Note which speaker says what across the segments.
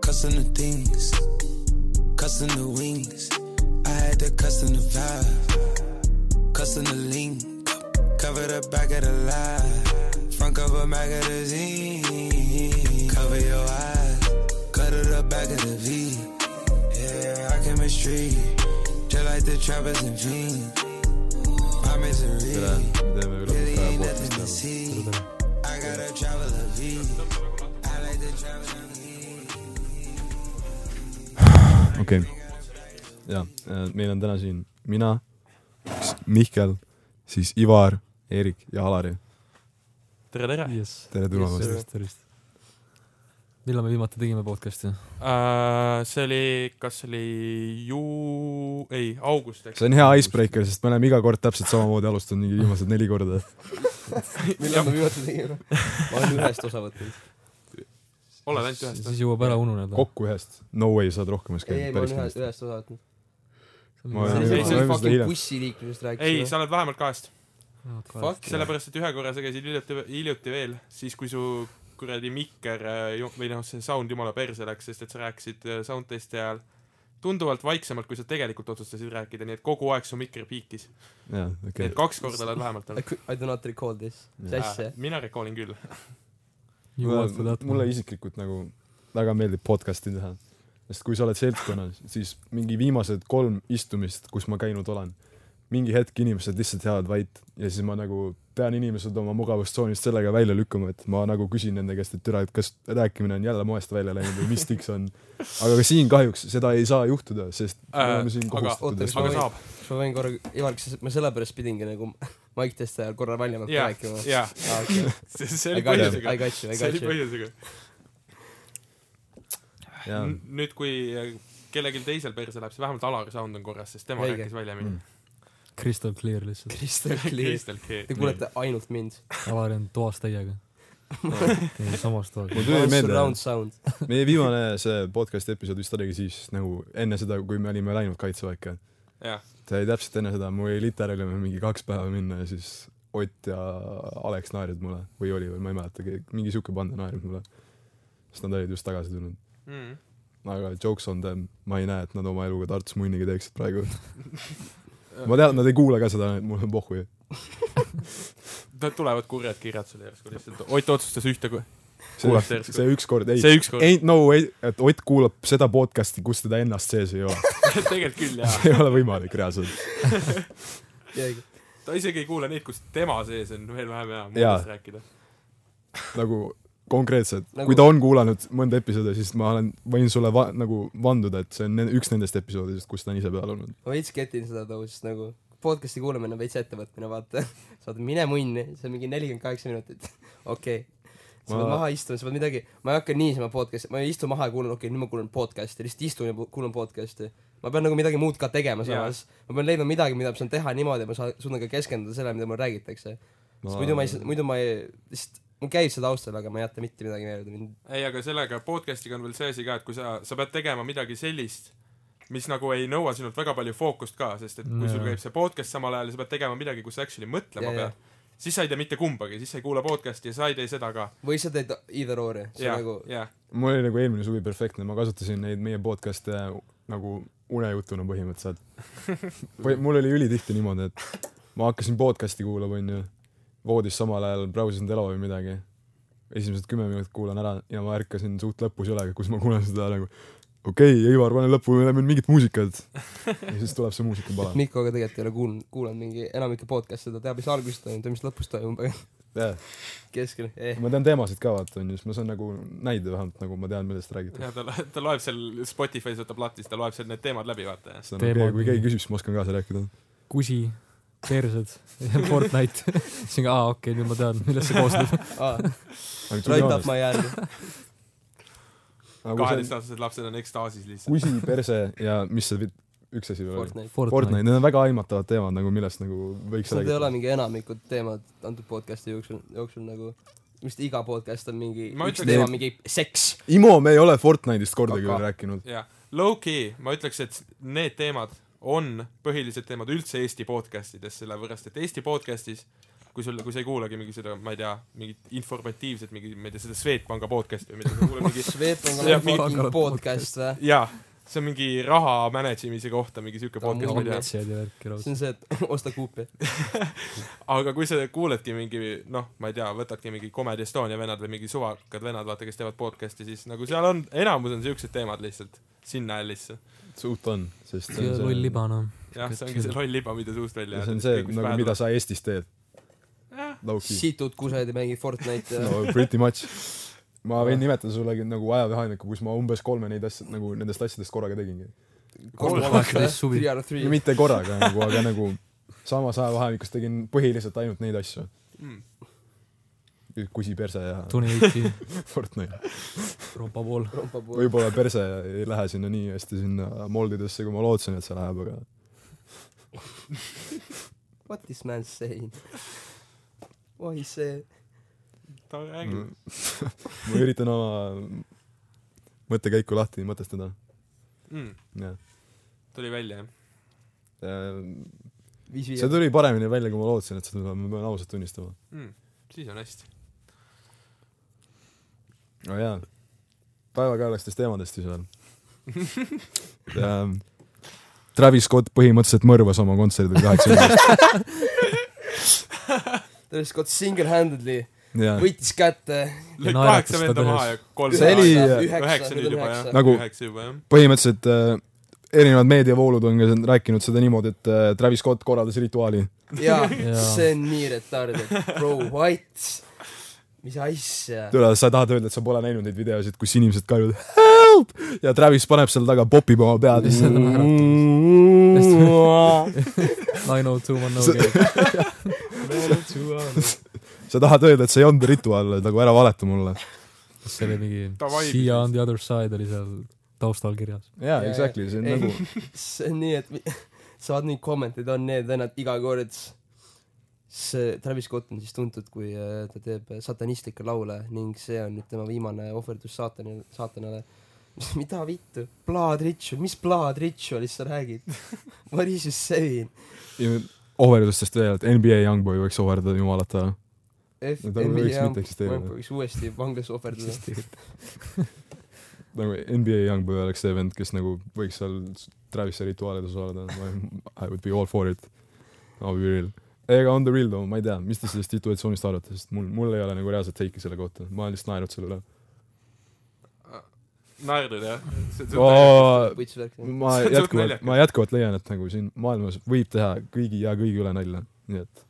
Speaker 1: cussing the things, cussing the wings. I had to cussing the vibe, cussing the link. Cover the back of the lie, front cover magazine. Cover your eyes, cover the back of the V. Yeah, I can mistreat, just like the trappers and fiends. My misery,
Speaker 2: tere , me teeme
Speaker 1: really ain't nothing to
Speaker 2: ülekannet .
Speaker 1: see. I gotta travel a V. I like to travel a V.
Speaker 2: okei okay. . ja , meil on täna siin mina , Mihkel , siis Ivar , Eerik ja Alari .
Speaker 3: tere , tere uh, .
Speaker 4: jess .
Speaker 2: tere tulemast .
Speaker 4: tervist , tervist . millal me viimati tegime podcast'i ?
Speaker 3: Äh, see oli , kas see oli ju- , ei , august , eks .
Speaker 2: see on hea icebreaker , sest me oleme iga kord täpselt samamoodi alustanud mingi viimased neli korda .
Speaker 5: millal me viimati tegime ? ma olen ühest osa võtnud .
Speaker 3: oled ainult ühest
Speaker 4: siis ? jõuab ära ununeda .
Speaker 2: kokku ühest . No way saad rohkemas
Speaker 5: ei ,
Speaker 2: käia .
Speaker 5: ei , ma olen ühest , ühest osa võtnud .
Speaker 4: nagu
Speaker 2: Ma
Speaker 5: see
Speaker 2: olen
Speaker 5: oli see ,
Speaker 3: ei,
Speaker 5: mis
Speaker 3: see
Speaker 5: me
Speaker 3: oli
Speaker 2: fucking
Speaker 5: fucking bussiliiklusest
Speaker 3: ei ,
Speaker 5: rääkisime .
Speaker 3: sa oled vähemalt kahest .
Speaker 4: nagu-
Speaker 5: Fuck yeah .
Speaker 3: sellepärast , et ühe korra sa käisid hiljuti , hiljuti veel , siis kui su kuradi mikker äh, ju- või noh , see sound jumala perse läks , sest et sa rääkisid äh, sound testi ajal tunduvalt vaiksemalt , kui sa tegelikult otsustasid rääkida , nii et kogu aeg su mikker piikis .
Speaker 2: jaa ,
Speaker 3: nii
Speaker 2: okei
Speaker 3: et . kaks korda oled vähemalt olnud .
Speaker 5: I do not recall this . mis asja ?
Speaker 3: mina recall in küll .
Speaker 2: mulle . isiklikult nagu väga meeldib podcast'i teha . sest kui sa oled seltskonnas , siis mingi viimased kolm istumist , kus ma käinud olen , mingi hetk inimesed lihtsalt jäävad vait ja siis ma nagu pean inimesed oma mugavustsoonist sellega välja lükkama , et ma nagu küsin nende käest , et tere , et kas rääkimine on jälle moest välja läinud või mis tiks on . aga ka siin kahjuks seda ei saa juhtuda , sest me
Speaker 3: Äh,
Speaker 2: oleme siin
Speaker 3: aga-
Speaker 2: kohustatud .
Speaker 5: oota,
Speaker 3: aga saab .
Speaker 5: kas ma võin korra , Ivar , kas ma sellepärast pidingi nagu maik testi ajal korra valjemalt
Speaker 3: jaa ,
Speaker 5: rääkima ?
Speaker 3: jaa .
Speaker 5: aa , okei .
Speaker 3: see
Speaker 5: I
Speaker 3: oli
Speaker 5: got you ,
Speaker 3: põhjusega
Speaker 5: I . got
Speaker 3: see
Speaker 5: you , I
Speaker 3: oli
Speaker 5: got you .
Speaker 3: põhjusega . N- nüüd , kui äh, kellelgi teisel perse läheb , siis vähemalt Alari sound on korras , sest tema
Speaker 5: Õige.
Speaker 3: rääkis välja
Speaker 2: Mm.
Speaker 3: mind .
Speaker 4: Crystal clear lihtsalt .
Speaker 5: Crystal Clear .
Speaker 3: Crystal Clear .
Speaker 5: Te kuulete ainult mind .
Speaker 4: Alari on toas täiega . samas toas .
Speaker 2: mul tuli meelde ,
Speaker 5: Surround sound .
Speaker 2: meie viimane see podcast'i episood vist oligi siis nagu enne seda , kui me olime läinud kaitseväkke .
Speaker 3: jah ,
Speaker 2: see oli täpselt enne seda , mul oli literaal oli mingi kaks päeva minna ja siis Ott ja Alex naersid mulle või oli veel , ma ei mäleta , mingi siuke panda naeris mulle . sest nad olid just tagasi tulnud .
Speaker 3: Mm.
Speaker 2: aga jokes on them , ma ei näe , et nad oma eluga Tartus munnigi teeksid praegu . ma tean , nad ei kuule ka seda , mul on pohhu ju .
Speaker 3: Nad tulevad kurjad kirjad sulle järsku lihtsalt . Ott otsustas ühte ,
Speaker 2: see
Speaker 3: Kuulab järsku.
Speaker 2: see ükskord , ei ,
Speaker 3: see ükskord ,
Speaker 2: ain't no way , et Ott kuulab seda podcast'i , kus teda ennast sees ei ole .
Speaker 3: tegelikult küll jaa .
Speaker 2: see ei ole võimalik reaalselt .
Speaker 3: ta isegi ei kuule neid , kus tema sees on veel vähem hea
Speaker 2: Jaa.
Speaker 3: muudest rääkida .
Speaker 2: nagu konkreetselt nagu... ,
Speaker 5: Nagu-
Speaker 2: kui ta on kuulanud mõnda episoodi , siis ma olen , võin sulle va- , nagu vanduda , et see on ne- üks nendest episoodidest , kus ta on ise peal olnud .
Speaker 5: ma veits ketin seda too , sest nagu podcast'i kuulamine on veits ettevõtmine , vaata . sa oled mine munni , see on mingi nelikümmend kaheksa minutit . okei okay. . sa
Speaker 2: Ma-
Speaker 5: pead maha istuma , sa pead midagi , ma ei hakka niisama podcast'i , ma ei istu maha ja kuulan , okei okay, , nüüd ma kuulan podcast'i , lihtsalt istun ja pu- kuulan podcast'i . ma pean nagu midagi muud ka tegema
Speaker 3: Jaa.
Speaker 5: samas . ma pean leidma midagi , mida ma saan teha niimoodi , et ma saan , suudan ka keskenduda sellele , mida mul räägitakse .
Speaker 2: Ma-
Speaker 5: sest muidu ma ei saa , muidu ma ei , lihtsalt mul käib see taustal , aga ma ei jäta mitte midagi meelde , mind
Speaker 3: ei , aga sellega podcast'iga on veel see asi ka , et kui sa , sa pead tegema midagi sellist , mis nagu ei nõua sinult väga palju fookust ka , sest et kui sul
Speaker 4: Jaa.
Speaker 3: käib see podcast samal ajal ja sa pead tegema midagi , kus sa actually mõtlema
Speaker 5: Jaa, jaa.
Speaker 3: pead , siis sa ei tee mitte kumbagi , siis sa ei kuula podcast'i ja sa ei tee seda ka .
Speaker 5: või sa teed either or'i , see
Speaker 3: jah
Speaker 5: on nagu ,,
Speaker 3: jah .
Speaker 2: mul oli nagu eelmine suvi perfektne , ma kasutasin neid meie podcast'e nagu unejutuna põhimõtteliselt . või mul oli ülitihti niimoodi , et ma hakkasin podcast'i kuulama , onju , voodis samal ajal brausisin telo või midagi . esimesed kümme minutit kuulan ära ja ma ärkasin suht lõpus üle , kus ma kuulan seda nagu okei okay, , Ivar , pane lõppu , meil on mingit muusikat . ja siis tuleb see muusikapala .
Speaker 5: Mikko ka tegelikult ei ole kuulnud , kuulanud mingi enamikke podcast'e , ta teab , mis alguses toimub ja mis lõpus toimub , aga
Speaker 2: Yeah.
Speaker 5: keskel eh. .
Speaker 2: ma tean teemasid ka vaata onju , siis ma saan nagu näide vähemalt nagu ma tean , millest räägitakse .
Speaker 3: ja ta , ta loeb seal Spotify's võtab lahti , siis ta loeb seal need teemad läbi , vaata .
Speaker 2: siis on okei
Speaker 4: Teemad-
Speaker 2: okay, , kui keegi küsib , siis ma oskan kaasa rääkida .
Speaker 4: kusi , persed ja Fortnite . siis on ka , aa okei , nüüd ma tean , millest see koosneb .
Speaker 5: Ah,
Speaker 2: aga to be
Speaker 5: right up
Speaker 2: honest-
Speaker 5: my alley .
Speaker 2: aga kui see on-
Speaker 3: kaheteistaastased lapsed on ekstaasis lihtsalt .
Speaker 2: kusi , perse ja mis see vi- üks asi veel oli ?
Speaker 5: Fortnite .
Speaker 2: Fortnite , need on väga aimatavad teemad nagu , millest nagu võiks
Speaker 5: Need ei ole
Speaker 2: rääkida .
Speaker 5: mingi enamikud teemad antud podcast'i jooksul , jooksul nagu , vist iga podcast on mingi ,
Speaker 3: Ma
Speaker 5: üks
Speaker 3: ütleks-
Speaker 5: teema on mingi seks .
Speaker 2: Imo , me ei ole Fortnite'ist kordagi veel
Speaker 5: Aga-
Speaker 2: rääkinud .
Speaker 3: jah , low-key ma ütleks , et need teemad on põhilised teemad üldse Eesti podcast ides , sellepärast et Eesti podcast'is , kui sul , kui sa ei kuulagi mingi seda , ma ei tea , mingit informatiivset , mingi , ma ei tea , seda Swedbanka podcast'i või mida sa kuuled mingi
Speaker 5: Swedbank
Speaker 3: Jah,
Speaker 5: on fucking
Speaker 4: mingi-
Speaker 5: podcast või ?
Speaker 3: jaa , see on mingi raha manage imise kohta mingi siuke
Speaker 5: Ta on
Speaker 3: podcast , ma ei tea .
Speaker 4: aktsiaid ja värki
Speaker 5: see
Speaker 4: raudselt .
Speaker 5: on see , et osta kuupi .
Speaker 3: aga kui sa kuuledki mingi noh , ma ei tea , võtadki mingi Comedy Estonia vennad või mingi suvakad vennad , vaata , kes teevad podcast'i , siis nagu seal on , enamus on siuksed teemad lihtsalt sinna ällisse .
Speaker 2: suht on , sest
Speaker 4: see on loll liba noh .
Speaker 3: jah , see ongi see loll liba , mida suust välja
Speaker 2: ja see on see , nagu mida . sa Eestis teed . Low-key .
Speaker 5: situd kused ja eh, mängid Fortnite'i ja
Speaker 2: no pretty much . ma võin nimetada sulle nagu ajavahemikku , kus ma umbes kolme neid asju , nagu nendest asjadest korraga tegingi .
Speaker 5: kolm
Speaker 4: Kolm
Speaker 5: aastat
Speaker 4: aastat suvi.
Speaker 5: three out of three .
Speaker 2: mitte korraga nagu , aga nagu samas ajavahemikus tegin põhiliselt ainult neid asju . kusi perse ja
Speaker 4: tunni veidi
Speaker 2: Fortnite .
Speaker 4: rompa pool .
Speaker 5: rompa puhul .
Speaker 2: võib-olla perse ei lähe sinna nii hästi sinna moldidesse , kui ma lootsin , et see läheb , aga
Speaker 5: What this man saying ? Why see ?
Speaker 3: ta räägib
Speaker 2: Mm. ma üritan oma mõttekäiku lahti mõtestada ,
Speaker 3: mm, .
Speaker 2: jah .
Speaker 3: tuli välja , jah ?
Speaker 5: viis
Speaker 2: see
Speaker 5: viie .
Speaker 2: tuli paremini välja , kui ma lootsin , et see tuleb , ma pean ausalt tunnistama .
Speaker 3: mm, siis on hästi .
Speaker 2: no jaa , päevakajalistest teemadest siis veel . Travis Scott põhimõtteliselt mõrvas oma kontserdil kaheksa inimest .
Speaker 5: Travis Scott single-handedly
Speaker 2: jaa ,
Speaker 5: võitis kätte .
Speaker 3: lõi
Speaker 4: naeratas
Speaker 3: kaheksa
Speaker 4: ta
Speaker 3: venda maha ja
Speaker 4: tehes.
Speaker 3: kolm
Speaker 2: See oli-
Speaker 3: üheksa nüüd juba , jah .
Speaker 2: Nagu-
Speaker 3: üheksa juba , jah .
Speaker 2: põhimõtteliselt äh, erinevad meediavoolud on ka siin rääkinud seda niimoodi , et äh, Travis Scott korraldas rituaali .
Speaker 5: jaa ,
Speaker 4: Jaa.
Speaker 5: see on nii retarded . Bro , what ? mis asja ?
Speaker 2: tule , sa tahad öelda , et sa pole näinud neid videosid , kus inimesed karjuvad help ja Travis paneb seal taga , popib oma pead
Speaker 4: See on
Speaker 2: lihtsalt .
Speaker 4: I know two one no game .
Speaker 2: sa tahad öelda , et see ei olnud rituaal , nagu ära valeta mulle .
Speaker 4: see oli mingi
Speaker 3: Ta vaibis
Speaker 4: See on the other side oli seal taustal kirjas .
Speaker 2: jaa , exactly , see on
Speaker 5: Ei.
Speaker 2: nagu ,
Speaker 5: see on nii , et mi- saad neid kommenteid , on need vennad iga kord . see Travis Scott on siis tuntud , kui äh, ta teeb satanistlikke laule ning see on nüüd tema viimane ohverdus saatanile , saatanale . mida vittu , blood ritual , mis blood ritual'ist sa räägid ? What is you saying ?
Speaker 2: ohverdustest veel , et NBA Youngboy võiks ohverdada jumalat ära .
Speaker 5: F-
Speaker 2: No Nagu ta võiks
Speaker 5: NBA
Speaker 2: mitte eksisteerida.
Speaker 5: võiks uuesti vanglasse ohverdada .
Speaker 2: nagu NBA Youngboy oleks see vend , kes nagu võiks seal Travis'e rituaalides osaleda . I would be all for it . I'll be real . ega on the real though , ma ei tea , mis te sellest situatsioonist arvate , sest mul , mul ei ole nagu reaalset teiki selle kohta , ma olen lihtsalt naernud selle üle .
Speaker 3: naerdud , jah ?
Speaker 2: ma
Speaker 5: puitsvärk .
Speaker 3: See on suht
Speaker 2: jätkuvalt ,
Speaker 3: naljakas.
Speaker 2: ma jätkuvalt leian , et nagu siin maailmas võib teha kõigi ja kõigi üle nalja , nii et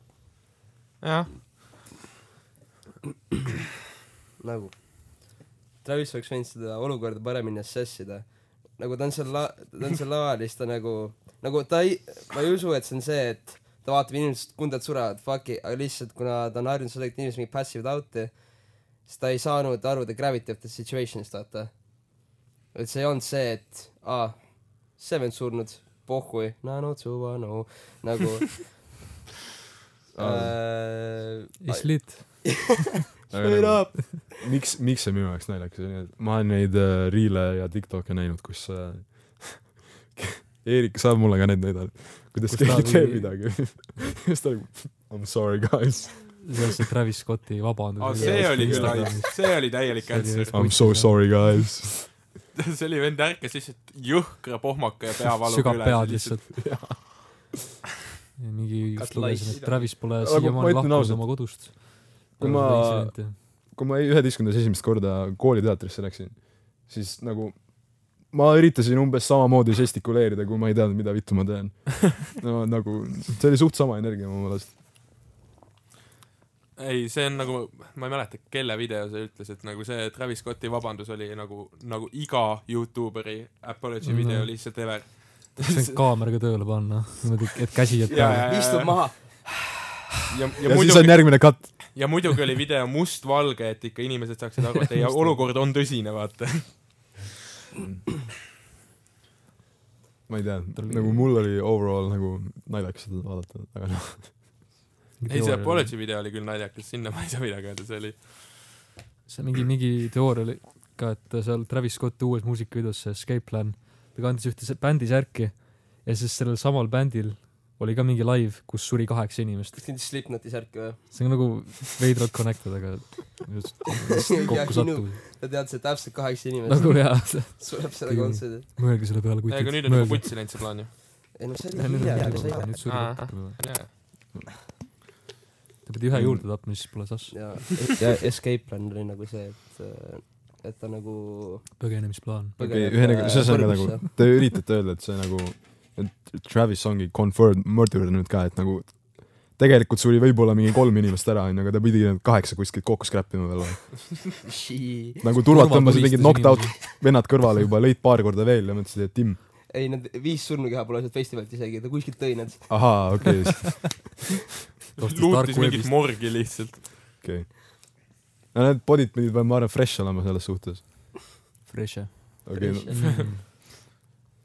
Speaker 3: jah ,
Speaker 5: nagu Travis oleks võinud seda olukorda paremini assessida nagu ta on seal la- ta on seal laval ja siis ta nagu nagu ta ei ma ei usu et see on see et ta vaatab inimesed kundad surevad fuck'i aga lihtsalt kuna ta on harjunud sellega et inimesed mingid passive out'i siis ta ei saanud aru the gravity of the situation'ist vaata et see ei olnud see et aa see vend surnud pohhui no no tsuva no nagu äh,
Speaker 4: It's lit .
Speaker 5: straight up
Speaker 2: miks , miks see minu jaoks naljakas oli , et ma olen neid äh, riile ja Tiktok'e näinud , kus äh, Eerik saab mulle ka neid näidata , kuidas
Speaker 4: Kus
Speaker 2: keegi
Speaker 4: ta-
Speaker 2: teeb midagi . siis ta oli I m sorry guys ,
Speaker 4: see oli see Travis Scotti vabandus .
Speaker 3: see oli küll haige , see oli täielik
Speaker 4: See oli
Speaker 3: äts .
Speaker 2: I m so sorry guys .
Speaker 3: see oli vend ärkas lihtsalt jõhkra pohmaka ja peavalu
Speaker 4: sügab pead . lihtsalt . mingi
Speaker 5: Cut
Speaker 4: just lugesin ,
Speaker 5: lice.
Speaker 4: et Travis pole
Speaker 2: Aga ma
Speaker 4: siiamaani
Speaker 2: ütlen
Speaker 4: lahkunud
Speaker 2: ausalt,
Speaker 4: oma kodust .
Speaker 2: kui ma- kui ma üheteistkümnendas esimest korda kooliteatrisse läksin , siis nagu ma üritasin umbes samamoodi žestikuleerida , kui ma ei teadnud , mida vittu ma teen . no nagu , see oli suht sama energia mu meelest .
Speaker 3: ei , see on nagu , ma ei mäleta , kelle video see ütles , et nagu see Travis Scotti vabandus oli nagu , nagu iga Youtuberi apology
Speaker 4: Mhm.
Speaker 3: video lihtsalt ever .
Speaker 4: sain kaameraga tööle panna , niimoodi , et käsi jääb
Speaker 3: Jaa,
Speaker 4: peale .
Speaker 5: istub maha
Speaker 3: ja , ja
Speaker 2: ja siis on
Speaker 3: muidugi ,
Speaker 2: järgmine cut .
Speaker 3: ja muidugi oli video mustvalge , et ikka inimesed saaksid aru , et ei , olukord on tõsine , vaata .
Speaker 2: ma ei tea
Speaker 4: Tal oli- ,
Speaker 2: nagu mul oli overall nagu naljakas seda vaadata , aga noh ,
Speaker 3: ei , see apology video oli küll naljakas , sinna ma ei saa midagi öelda , see oli
Speaker 4: see mingi , mingi teooria oli ka , et seal Travis Scotti uues muusikavideos , see Escape Plan , ta kandis ühte se- bändi särki ja siis sellel samal bändil oli ka mingi live , kus suri kaheksa inimest .
Speaker 5: kas kindlasti Slipknoti särk või ?
Speaker 4: see on nagu veidralt connected , aga just kokku sattuv .
Speaker 5: ta teadis , et täpselt kaheksa inimest
Speaker 4: nagu
Speaker 5: nagu...
Speaker 4: jaa ,
Speaker 5: sureb selle kontserdi .
Speaker 4: mõelge selle peale , kui
Speaker 3: aga nüüd on juba putsi läinud see plaan ju .
Speaker 5: ei noh , see
Speaker 2: Nagu-
Speaker 5: oli hiljem , see oli
Speaker 4: nüüd suri
Speaker 3: Aa.
Speaker 4: natuke .
Speaker 3: jaa .
Speaker 4: ta
Speaker 3: Mm.
Speaker 4: pidi ühe juurde tapma , siis pole sassi .
Speaker 5: ja , ja escape plan oli nagu see , et , et ta nagu äh,
Speaker 4: põgenemisplaan .
Speaker 2: okei , ühesõnaga , see on ka nagu , te üritate öelda , et see nagu , et Travis ongi confirmed murder nüüd ka , et nagu tegelikult suri võib-olla mingi kolm inimest ära , onju , aga ta pidi need kaheksa kuskilt kokku scrap ima veel .
Speaker 5: nagu
Speaker 2: nagu turvad
Speaker 4: Turvad
Speaker 2: tõmbasid mingid
Speaker 4: tulistasid
Speaker 2: knocked out vennad kõrvale juba , lõid paar korda veel ja mõtlesid , et Tim ,
Speaker 5: ei , need viis surnukeha pole sealt festivalilt isegi , ta kuskilt tõi need .
Speaker 2: ahaa , okei okay, ,
Speaker 3: luutis mingit morgi lihtsalt .
Speaker 2: okei okay. . no need body'd pidid veel , ma arvan , fresh olema selles suhtes .
Speaker 4: Fresh , jah .
Speaker 2: okei okay, ,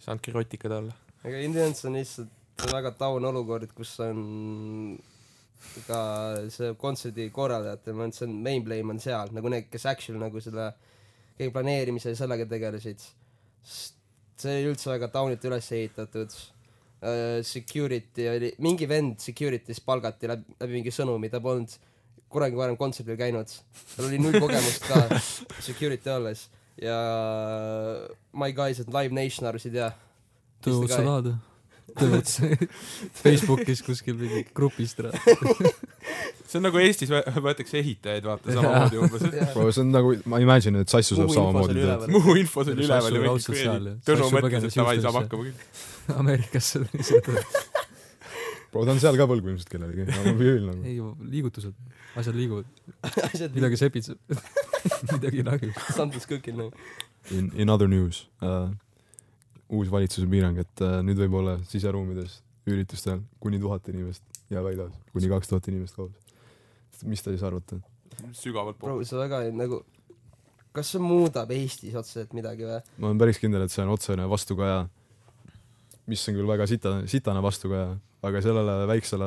Speaker 3: siis andke rotikad alla .
Speaker 5: aga Indians on lihtsalt see on väga taun olukord , kus on ka see kontserdi korraldajate , ma arvan , et see on main blame on seal , nagu need , kes actually nagu selle kõige planeerimise ja sellega tegelesid . see oli üldse väga taunilt üles ehitatud . Security oli , mingi vend security's palgati läbi, läbi mingi sõnumi , ta polnud kunagi varem kontserdil käinud , tal oli null kogemust ka security olles ja my guys at Live Nation arvasid jah .
Speaker 4: töö otsa tahad või ? töö otsa . Facebookis kuskil mingi grupis täna .
Speaker 3: see on nagu Eestis vä- võetakse ehitajaid vaata samamoodi umbes , et
Speaker 5: Jah.
Speaker 2: see on nagu , ma imagine , et Sassu saab
Speaker 5: Kuhu info seal
Speaker 2: samamoodi teha .
Speaker 5: üleval?
Speaker 3: Muhu infos oli
Speaker 4: Sassu
Speaker 3: üleval ja mingi
Speaker 4: raudselt seal
Speaker 3: kuradi
Speaker 4: ja
Speaker 3: Tõnu mõtles ,
Speaker 4: Sassu
Speaker 3: et davai ,
Speaker 4: põgenes just
Speaker 3: saab
Speaker 4: üldse.
Speaker 3: hakkama küll .
Speaker 4: Ameerikasse oli see töö .
Speaker 2: ta on seal ka võlgu ilmselt kellelegi , aga ma püüan nagu .
Speaker 4: ei , liigutused , asjad liiguvad ,
Speaker 5: asjad midagi
Speaker 4: midagi sepitseb . midagi nagib .
Speaker 5: something's cooking nagu
Speaker 2: in , in other news uh, , uus valitsuse piirang , et uh, nüüd võib olla siseruumides üritustel kuni tuhat inimest ja väljas kuni kaks tuhat inimest koos . mis te siis arvate ?
Speaker 3: sügavalt
Speaker 5: bro
Speaker 3: pool .
Speaker 5: see väga nagu kas see muudab Eestis otseselt midagi või
Speaker 2: ma olen päris kindel , et see on otsene vastukaja , mis on küll väga sita , sitane vastukaja , aga sellele väiksele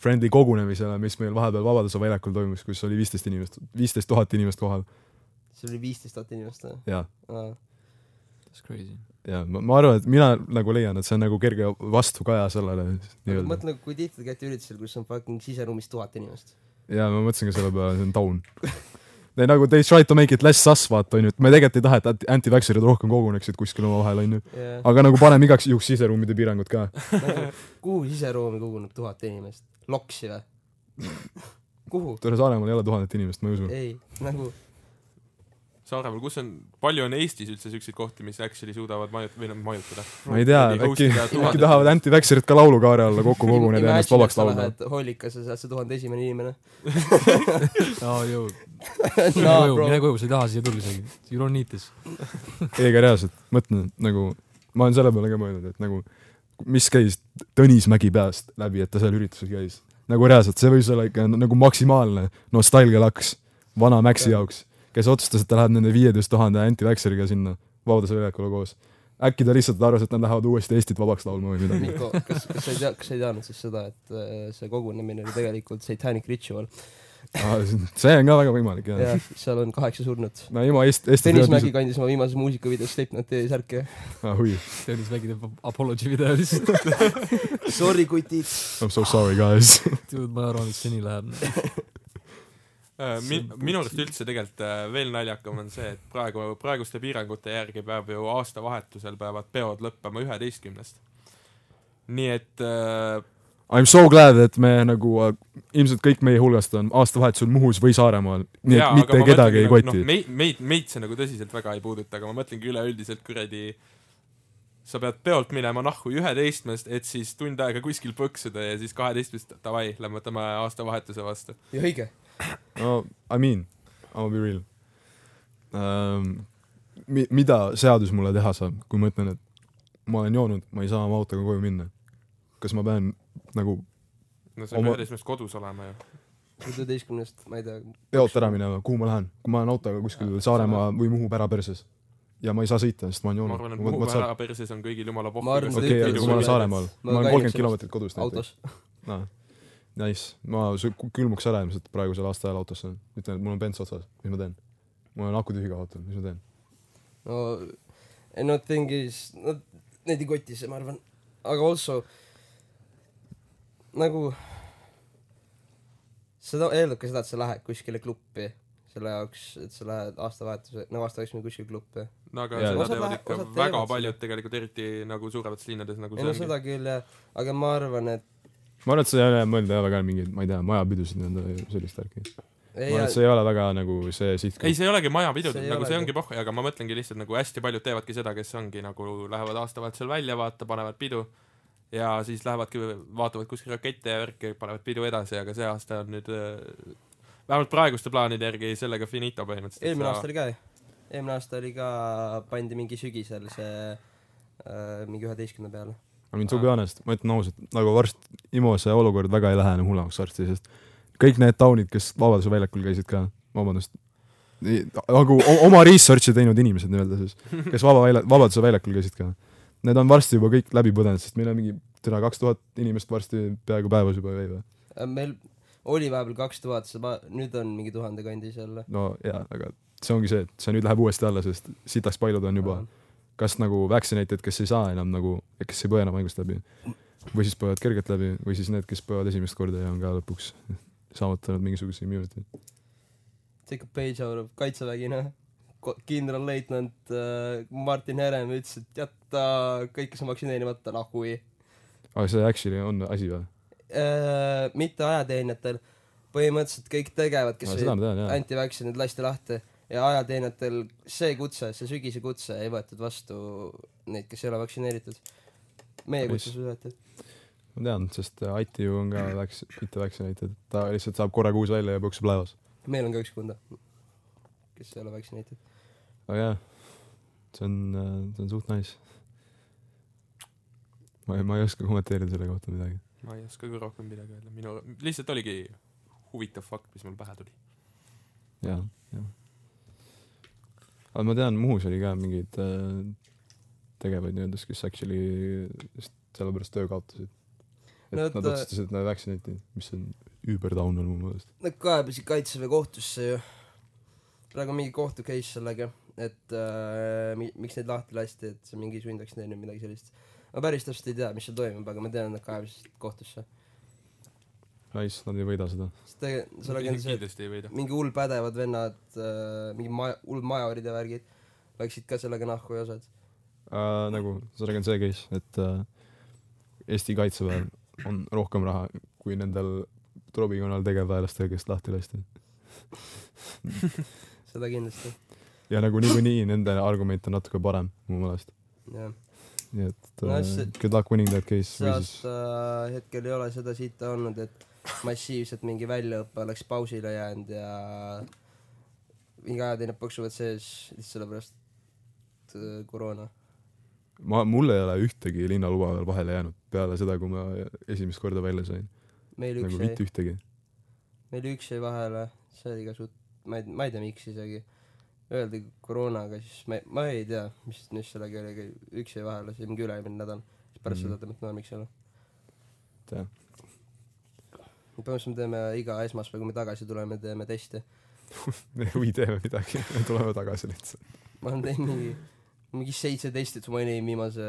Speaker 2: friendly kogunemisele , mis meil vahepeal Vabaduse väljakul toimus , kus oli viisteist inimest , viisteist tuhat inimest kohal
Speaker 5: see oli viisteist tuhat inimest või
Speaker 2: ja ,
Speaker 5: aa
Speaker 4: That's crazy .
Speaker 2: ja ma, ma arvan , et mina nagu leian , et see on nagu kerge vastukaja sellele
Speaker 5: Aga
Speaker 2: nii-öelda .
Speaker 5: mõtle nagu kui tihti te käite üritusel kus on fucking siseruumis tuhat inimest
Speaker 2: jaa , ma mõtlesin ka selle peale , see on down . They nagu they try to make it less sus , vaata onju , et me tegelikult ei taha , et anti- anti-vaxxerid rohkem koguneksid kuskil omavahel onju .
Speaker 5: ja
Speaker 2: aga nagu paneme igaks juhuks siseruumide piirangud ka .
Speaker 5: nagu kuhu siseruumi koguneb tuhat inimest loksi või kuhu
Speaker 2: tore Saaremaal ei ole tuhandet inimest , ma ei usu .
Speaker 5: ei nagu
Speaker 3: Saaremaal , kus on , palju on Eestis üldse siukseid kohti , mis actually suudavad majut- , või noh , majutada ?
Speaker 2: ma ei tea , äkki , äkki tahavad anti-vaxxerid ka laulukaare alla kokku koguneda ja ennast
Speaker 5: Imagine, et
Speaker 2: vabaks
Speaker 5: sa
Speaker 2: laulda .
Speaker 5: lähed hollikasse sa oled see tuhande esimene inimene
Speaker 4: aa , jõu . mine
Speaker 5: no
Speaker 4: koju ,
Speaker 5: bro
Speaker 4: mine koju , sa ei taha siia tulla isegi . You don't need this .
Speaker 2: ei , aga reaalselt , mõtlen nagu , ma olen selle peale ka mõelnud , et nagu mis käis Tõnis Mägi peast läbi , et ta seal üritusel käis . nagu reaalselt , see võis olla ikka nagu maksimaalne nostalgia laks vana Maxi jaoks , kes otsustas , et ta läheb nende viieteist tuhande anti-vaxxeriga sinna Vabaduse väljakule koos . äkki ta lihtsalt arvas , et nad lähevad uuesti Eestit vabaks laulma või midagi .
Speaker 5: Miko , kas , kas sa ei tea , kas sa ei teadnud siis seda , et äh, see kogunemine oli tegelikult satanic ritual
Speaker 2: Ah, see on ka väga võimalik jah
Speaker 5: ja seal on kaheksa surnut .
Speaker 2: no ilma Eest- , Eesti
Speaker 5: Tõnis Mägi kandis oma viimases muusikavideos Slipknoti särke .
Speaker 2: ah, . oi ,
Speaker 4: Tõnis Mägi teeb apology video lihtsalt .
Speaker 5: Sorry , kutid .
Speaker 2: I m so sorry guys .
Speaker 4: Dude , ma arvan , et seni läheb .
Speaker 3: Min- , minu arust üldse tegelikult äh, veel naljakam on see , et praegu , praeguste piirangute järgi peab ju aastavahetusel peavad peod lõppema üheteistkümnest . nii et äh,
Speaker 2: I m so glad , et me nagu äh, ilmselt kõik meie hulgast on aastavahetusel Muhus või Saaremaal , nii et
Speaker 3: jaa, aga ma
Speaker 2: mitte
Speaker 3: mõtlengi
Speaker 2: kedagi ei
Speaker 3: nagu,
Speaker 2: koti
Speaker 3: noh, . meid , meid , meid see nagu tõsiselt väga ei puuduta , aga ma mõtlengi üleüldiselt kuradi sa pead peolt minema nahku üheteistkümnest , et siis tund aega kuskil põksuda ja siis kaheteistkümnest davai , lähme võtame aastavahetuse vastu .
Speaker 5: ja õige .
Speaker 2: no I mean , I will be real um, . Mi- , mida seadus mulle teha saab , kui ma ütlen , et ma olen joonud , ma ei saa oma autoga koju minna ? kas ma pean nagu
Speaker 3: no sa pead
Speaker 2: Oma-
Speaker 3: üheteistkümnest kodus olema ju .
Speaker 5: üheteistkümnest , ma ei tea .
Speaker 2: peolt ära minema , kuhu ma lähen , kui ma olen autoga kuskil Saaremaa või Muhu pära perses ja ma ei saa sõita , sest ma olen
Speaker 3: ma
Speaker 2: joonud .
Speaker 3: arvan , et Muhu ära perses on kõigil jumala
Speaker 5: Ma arvan,
Speaker 3: pohv .
Speaker 5: et
Speaker 2: okei , aga kui ma olen
Speaker 5: Sõidad-
Speaker 2: Saaremaal ,
Speaker 5: Ma
Speaker 2: ma olen
Speaker 5: käin
Speaker 2: kolmkümmend
Speaker 5: sellest
Speaker 2: kilomeetrit kodust näiteks .
Speaker 5: autos .
Speaker 2: aa , Noh, nice , ma su- ku- külmuks ära ilmselt praegusel aastaajal autosse , ütlen , et mul on benz otsas , mis ma teen ? mul on aku tühi ka autol , mis ma teen ?
Speaker 5: no , eh, no thing is , no neid ei koti see , ma arvan . aga also , nagu see to- eeldab ka seda , et sa lähed kuskile kluppi selle jaoks , et sa lähed aastavahetuse , nagu aastavahetusel kuskile kluppi .
Speaker 3: no aga
Speaker 2: Jaa.
Speaker 3: seda
Speaker 5: Osad
Speaker 3: teevad
Speaker 5: lähe-
Speaker 3: ikka
Speaker 5: osad
Speaker 3: väga
Speaker 5: teevad
Speaker 3: paljud tegelikult , eriti nagu suuremates linnades nagu
Speaker 5: ei
Speaker 3: see
Speaker 5: no
Speaker 3: ongi .
Speaker 5: seda küll jah , aga ma arvan , et
Speaker 2: ma arvan , et see ei ole mõelda väga mingeid , ma ei tea , majapidusid , nõnda sellist värki . ma
Speaker 5: ei
Speaker 2: arvan , et see ei ole väga nagu see
Speaker 3: ei ,
Speaker 2: sihtgrupp .
Speaker 3: see ei olegi
Speaker 5: See
Speaker 3: majapidudel ,
Speaker 5: ei
Speaker 3: nagu see
Speaker 5: olegi.
Speaker 3: ongi pohh , aga ma mõtlengi lihtsalt nagu hästi paljud teevadki seda , kes ongi nagu lähevad aastavahetusel välja , vaata , panevad pidu ja siis lähevadki , vaatavad kuskil rakette ja värki , panevad pidu edasi , aga see aasta on nüüd äh, vähemalt praeguste plaanide järgi sellega finito põhimõtteliselt .
Speaker 5: eelmine aasta oli ka ju . eelmine aasta oli ka , pandi mingi sügisel see äh, mingi üheteistkümne peale .
Speaker 2: I mean to be honest , ma ütlen ausalt , nagu varsti Imo see olukord väga ei lähe enam hullemaks varsti , sest kõik need taunid , kes Vabaduse väljakul käisid ka , vabandust , nagu o- oma research'i teinud inimesed nii-öelda siis , kes Vaba välja , Vabaduse väljakul käisid ka , need on varsti juba kõik läbi põdenud , sest meil on mingi täna kaks tuhat inimest varsti peaaegu päevas juba või või
Speaker 5: Äh, meil oli vahepeal kaks tuhat , nüüd on mingi tuhande kandis jälle .
Speaker 2: no jaa , aga see ongi see , et see nüüd läheb uuesti alla , sest sitaks paljud on juba
Speaker 5: Äh,
Speaker 2: kas nagu vaccinated , kes ei saa enam nagu , kes ei põe enam haigust läbi või siis põevad kergelt läbi või siis need , kes põevad esimest korda ja on ka lõpuks saavutanud mingisuguse immunity .
Speaker 5: Jacob Page haarab kaitsevägina . kindralleitnant äh, Martin Herem ütles , et jäta kõik , kes on vaktsineerimata , nahui
Speaker 2: aga see actually on asi või ?
Speaker 5: äh, . mitte ajateenijatel , põhimõtteliselt kõik tegevad , kes
Speaker 2: seda ma tean jaa .
Speaker 5: antivaktsineerid lasti lahti ja ajateenijatel see kutse , see sügise kutse ei võetud vastu neid , kes ei ole vaktsineeritud . meie
Speaker 2: Mis?
Speaker 5: kutsus võeti .
Speaker 2: ma tean , sest Aiti ju on ka vac- , mitte vaccinated , ta lihtsalt saab korra kuus välja ja põksub laevas .
Speaker 5: meil on ka üks kunda , kes ei ole vaktsineeritud .
Speaker 2: aga jah , see on , see on suht nice . ma ei , ma ei oska kommenteerida selle kohta midagi .
Speaker 3: ma ei oska ka rohkem midagi öelda , minu , lihtsalt oligi huvitav fakt , mis mul pähe tuli .
Speaker 2: jah , jah . aga ma tean , Muhus oli ka mingeid äh, tegevaid nii-öelda , kes actually just sellepärast töö kaotasid . et
Speaker 5: No
Speaker 2: no,
Speaker 5: et,
Speaker 2: nad
Speaker 5: äh,
Speaker 2: otsustasid , et nad vaccinate'i , mis on über down on mu meelest .
Speaker 5: Nad kaebasid kaitseväe kohtusse ju . praegu on mingi kohtu case sellega , et äh, mi- miks neid lahti lasti , et see on mingi sundvaktsineerimine , midagi sellist . ma päris täpselt ei tea , mis seal toimub , aga ma tean , et nad kaebasid kohtusse .
Speaker 2: Nice , nad ei võida seda .
Speaker 5: sest tegelikult sellega on see ,
Speaker 3: kindlasti ei võida
Speaker 5: et . mingi hull pädevad vennad , mingi maja , hull majorid ja värgid läksid ka sellega nahku ja osad .
Speaker 2: Äh, nagu sellega on see case , et äh, Eesti kaitseväel on rohkem raha kui nendel trobikonnal tegevväelastel , kes lahti lasti .
Speaker 5: seda kindlasti ,
Speaker 2: ja nagu niikuinii nende argument on natuke parem mu meelest .
Speaker 5: jah .
Speaker 2: nii et
Speaker 5: No
Speaker 2: äh,
Speaker 5: see-
Speaker 2: good luck winning that case
Speaker 5: see
Speaker 2: või siis
Speaker 5: aasta äh, hetkel ei ole seda siita olnud , et massiivselt mingi väljaõpe oleks pausile jäänud ja mingi ajateenijad põksuvad sees lihtsalt sellepärast et, äh, koroona .
Speaker 2: ma , mul ei ole ühtegi linnaluba veel vahele jäänud peale seda , kui ma esimest korda välja sain .
Speaker 5: meil üks
Speaker 2: nagu
Speaker 5: jäi ,
Speaker 2: mitte ühtegi .
Speaker 5: meil üks jäi vahele , see oli ka suht , ma ei , ma ei tea , miks isegi . Öeldi koroonaga , siis ma ei , ma ei tea , mis , mis sellega oli , aga üks jäi vahele , see oli mingi üle-eelmine nädal . siis pärast
Speaker 2: Mhm.
Speaker 5: seda tõmbati normiks jälle .
Speaker 2: et jah ,
Speaker 5: põhimõtteliselt me teeme iga esmaspäev , kui me tagasi tuleme , teeme teste .
Speaker 2: või teeme midagi , tuleme tagasi lihtsalt .
Speaker 5: ma olen teinud mingi , mingi seitse testi Twinii viimase ,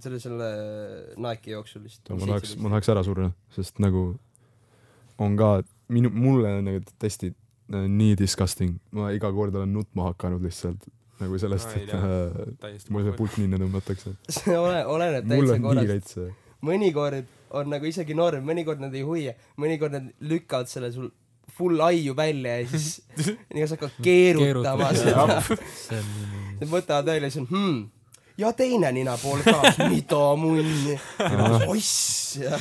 Speaker 5: selle , selle Nike'i jooksul vist .
Speaker 2: ma tahaks , ma tahaks ära surra , sest nagu on ka , minu , mulle on need testid äh, nii disgusting , ma iga kord olen nutma hakanud lihtsalt nagu sellest
Speaker 3: Ma , ei
Speaker 2: et
Speaker 3: tea.
Speaker 2: äh,
Speaker 3: täiesti
Speaker 2: mul see
Speaker 3: puhul .
Speaker 2: pulk ninna tõmmatakse .
Speaker 5: see ole- , oleneb
Speaker 2: mul
Speaker 5: täitsa
Speaker 2: on nii
Speaker 5: korrast .
Speaker 2: kaitse .
Speaker 5: mõnikord on nagu isegi norm , mõnikord nad ei hoia , mõnikord nad lükkavad selle sul full aiu välja ja siis nii sa hakkad keerutama
Speaker 4: Keerutad,
Speaker 5: seda .
Speaker 4: see on nii-
Speaker 5: Nad võtavad välja ja siis on hmm, ja teine nina pool ka , mida munni . oiss ja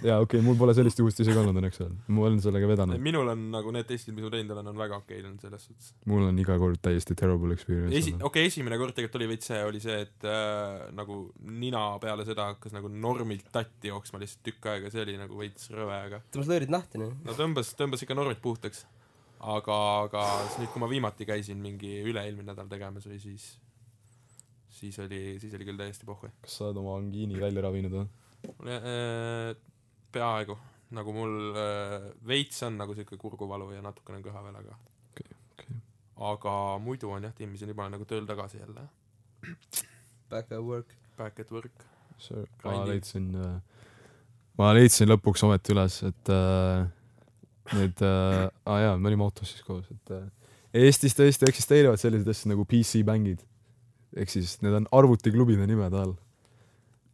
Speaker 2: jaa , okei , mul pole sellist juhust isegi olnud õnneks veel . ma olen sellega vedanud .
Speaker 3: minul on nagu need testid , mis ma teinud olen , on väga okeid olnud selles suhtes .
Speaker 2: mul on iga kord täiesti terrible experience
Speaker 3: esi- ,
Speaker 2: olnud.
Speaker 3: okei okay, , esimene kord tegelikult oli veits see , oli see , et äh, nagu nina peale seda hakkas nagu normilt tatti jooksma lihtsalt tükk aega , see oli nagu veits rõve , aga
Speaker 5: tõmbas lõõrid lahti noh. nüüd .
Speaker 3: no tõmbas , tõmbas ikka normilt puhtaks . aga , aga siis nüüd , kui ma viimati käisin mingi üle-eelmine nädal tegemas või siis , siis oli , siis oli küll täiesti pohhu .
Speaker 2: kas sa oled oma angiini välja ravinud või ?
Speaker 3: mul äh, peaaegu , nagu mul äh, veits on nagu siuke kurguvalu ja natukene on kõhaväel , aga
Speaker 2: Okei, okei.
Speaker 3: aga muidu on jah , Timmis on juba nagu tööl tagasi jälle ,
Speaker 5: Back at work .
Speaker 3: back at work .
Speaker 2: Sir , ma
Speaker 3: Grinding.
Speaker 2: leidsin äh, ma leidsin lõpuks ometi üles , et äh, need äh, , aa jaa , me olime autos siis koos , et äh, Eestis tõesti eksisteerivad sellised asjad nagu PC-bängid . ehk siis need on arvutiklubide nimed all .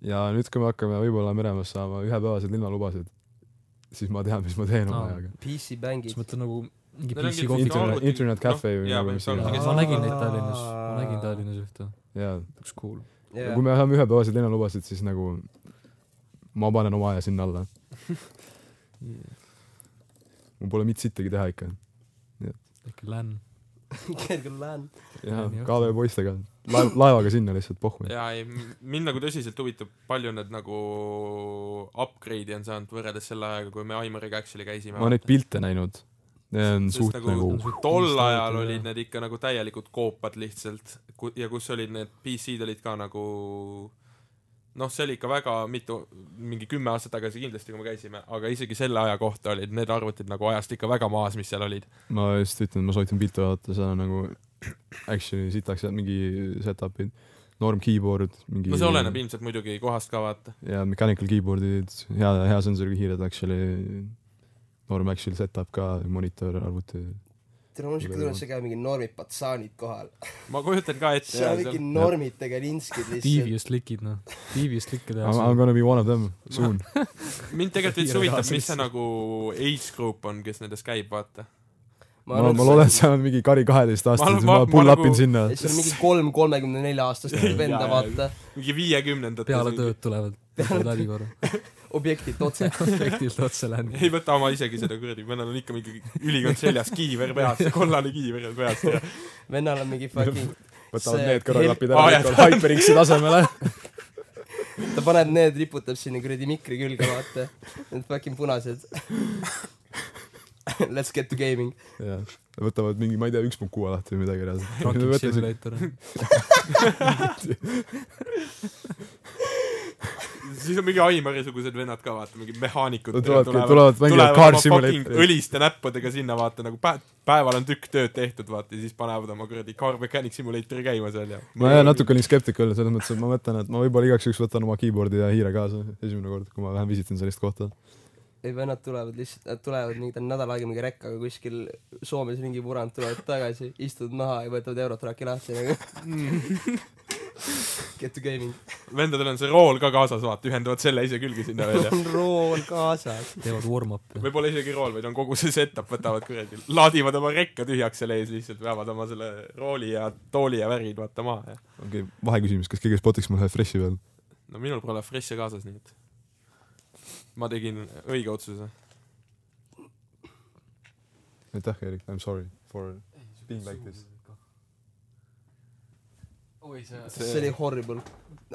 Speaker 2: ja nüüd , kui me hakkame võib-olla meremees saama ühepäevased linnalubasid , siis ma tean , mis ma teen oma
Speaker 4: Aa.
Speaker 2: ajaga .
Speaker 5: PC bängid
Speaker 4: siis . mõtlen nagu mingi
Speaker 3: Need ongi
Speaker 4: PC
Speaker 3: siis
Speaker 4: kohvik
Speaker 3: nagu-
Speaker 4: või ?
Speaker 2: internet ,
Speaker 3: arvuti-
Speaker 2: internet cafe või
Speaker 3: jaa,
Speaker 2: nagu mis
Speaker 3: põhimõtteliselt
Speaker 2: iganes .
Speaker 4: ma nägin neid Tallinnas , ma nägin Tallinnas ühte .
Speaker 2: jaa ,
Speaker 4: üks cool .
Speaker 2: kui me saame ühepäevased linnalubasid , siis nagu ma panen oma aja sinna alla . mul pole mitte sittagi teha ikka .
Speaker 4: äkki LAN .
Speaker 5: kergel lähen .
Speaker 2: jaa
Speaker 4: Nii, ,
Speaker 2: KV poistega , laev , laevaga sinna lihtsalt pohhu .
Speaker 3: jaa , ei , mind nagu tõsiselt huvitab , palju need nagu upgrade'i on saanud võrreldes selle ajaga , kui me Aimariga Action'i käisime .
Speaker 2: ma olen neid pilte näinud . Need on
Speaker 3: Sest
Speaker 2: suht
Speaker 3: nagu-
Speaker 2: nagu
Speaker 4: suht-
Speaker 3: tol
Speaker 4: installid
Speaker 3: ajal
Speaker 4: ja-
Speaker 3: olid need ikka nagu täielikud koopad lihtsalt ku- ja kus olid need PC-d olid ka nagu noh , see oli ikka väga mitu , mingi kümme aastat tagasi kindlasti , kui me käisime , aga isegi selle aja kohta olid need arvutid nagu ajast ikka väga maas , mis seal olid .
Speaker 2: ma just ütlen , ma soovitan pilte vaadata , seal on nagu action'i sitaks ja mingi setup'id , norm keyboard , mingi
Speaker 3: no see oleneb ilmselt muidugi kohast ka vaata .
Speaker 2: ja mechanical keyboard'id , hea , hea sensoriga hiired actually , norm actually setup ka , monitor , arvuti .
Speaker 5: tere , mul on siuke tunne , et sa käid mingi normid patsaanid kohal .
Speaker 3: ma kujutan ka ette
Speaker 5: seal
Speaker 3: jah ,
Speaker 5: on mingi
Speaker 3: seal
Speaker 5: normid tegelinskid lihtsalt .
Speaker 4: Devious lick'id noh , Devious lick'e
Speaker 2: I m
Speaker 4: tehakse .
Speaker 2: gonna be one of them soon .
Speaker 3: mind tegelikult
Speaker 4: Kiire
Speaker 3: veits huvitab ,
Speaker 4: raha
Speaker 3: mis
Speaker 4: sisse.
Speaker 3: see nagu age group on , kes nendes käib , vaata .
Speaker 2: ma , ma loodan , et seal on mingi kari
Speaker 3: Ma-
Speaker 2: kaheteistaastased , siis ma
Speaker 3: ma- ma
Speaker 2: pull up in
Speaker 3: nagu-
Speaker 2: sinna .
Speaker 5: et seal on mingi kolm kolmekümne nelja aastast venda , vaata ,
Speaker 3: mingi viiekümnendates .
Speaker 4: peale tööd tulevad . peale läbi korra .
Speaker 5: objektilt otse .
Speaker 4: efektiivselt otse läbi .
Speaker 3: ei võta oma isegi seda kuradi , vennal on ikka mingi ülikond seljas , kiiver peas , kollane kiiver on peas ja
Speaker 5: vennal on mingi fucking ,
Speaker 2: võtavad
Speaker 5: see-
Speaker 2: need kõrvaklapid ära
Speaker 3: Aa, ,
Speaker 2: kõik on HyperX-i tasemele .
Speaker 5: ta paneb need , riputab sinna kuradi mikri külge , vaata . Need fucking punased . Let's get to gaming .
Speaker 2: jah , võtavad mingi , ma ei tea , üks punkt kuue lahti või midagi
Speaker 4: Rocket
Speaker 2: reaalselt .
Speaker 4: Simulator .
Speaker 3: siis on mingi Aimari-sugused vennad ka , vaata , mingid mehaanikud
Speaker 2: No tulevadki- tulevad, mängivad Car Simulator.
Speaker 3: õliste näppudega sinna , vaata nagu pä- , päeval on tükk tööd tehtud , vaata , ja siis panevad oma kuradi Car Mechanic Simulatori käima seal ja
Speaker 2: ma jah , natuke olin skeptikul selles mõttes , et ma mõtlen , et ma võib-olla igaks juhuks võtan oma keyboard'i ja hiire kaasa esimene kord , kui ma lähen visitan sellist kohta .
Speaker 5: ei , vennad tulevad lihtsalt , nad tulevad mingi , ta on nädal aega mingi rekkaga kuskil Soomes ringi puranud , tulevad tagasi , istuvad maha ja võtavad Eurotraki lahti nagu . Get to gaming .
Speaker 3: vendadel on see rool ka kaasas , vaata , ühendavad selle ise külge sinna veel ja
Speaker 5: on rool kaasas .
Speaker 4: teevad warm-up'i .
Speaker 3: võib-olla isegi rool , vaid on kogu see setup , võtavad kuradi , laadivad oma rekka tühjaks seal ees lihtsalt , veavad oma selle rooli ja tooli ja värgid vaata maha ja
Speaker 2: okei okay, , vaheküsimus , kas keegi spotiks mul ühe fresh'i veel ?
Speaker 3: no minul pole fresh'e kaasas , nii et ma tegin õige otsuse .
Speaker 2: aitäh , Erik , I m sorry for being like this .
Speaker 5: see oli horrible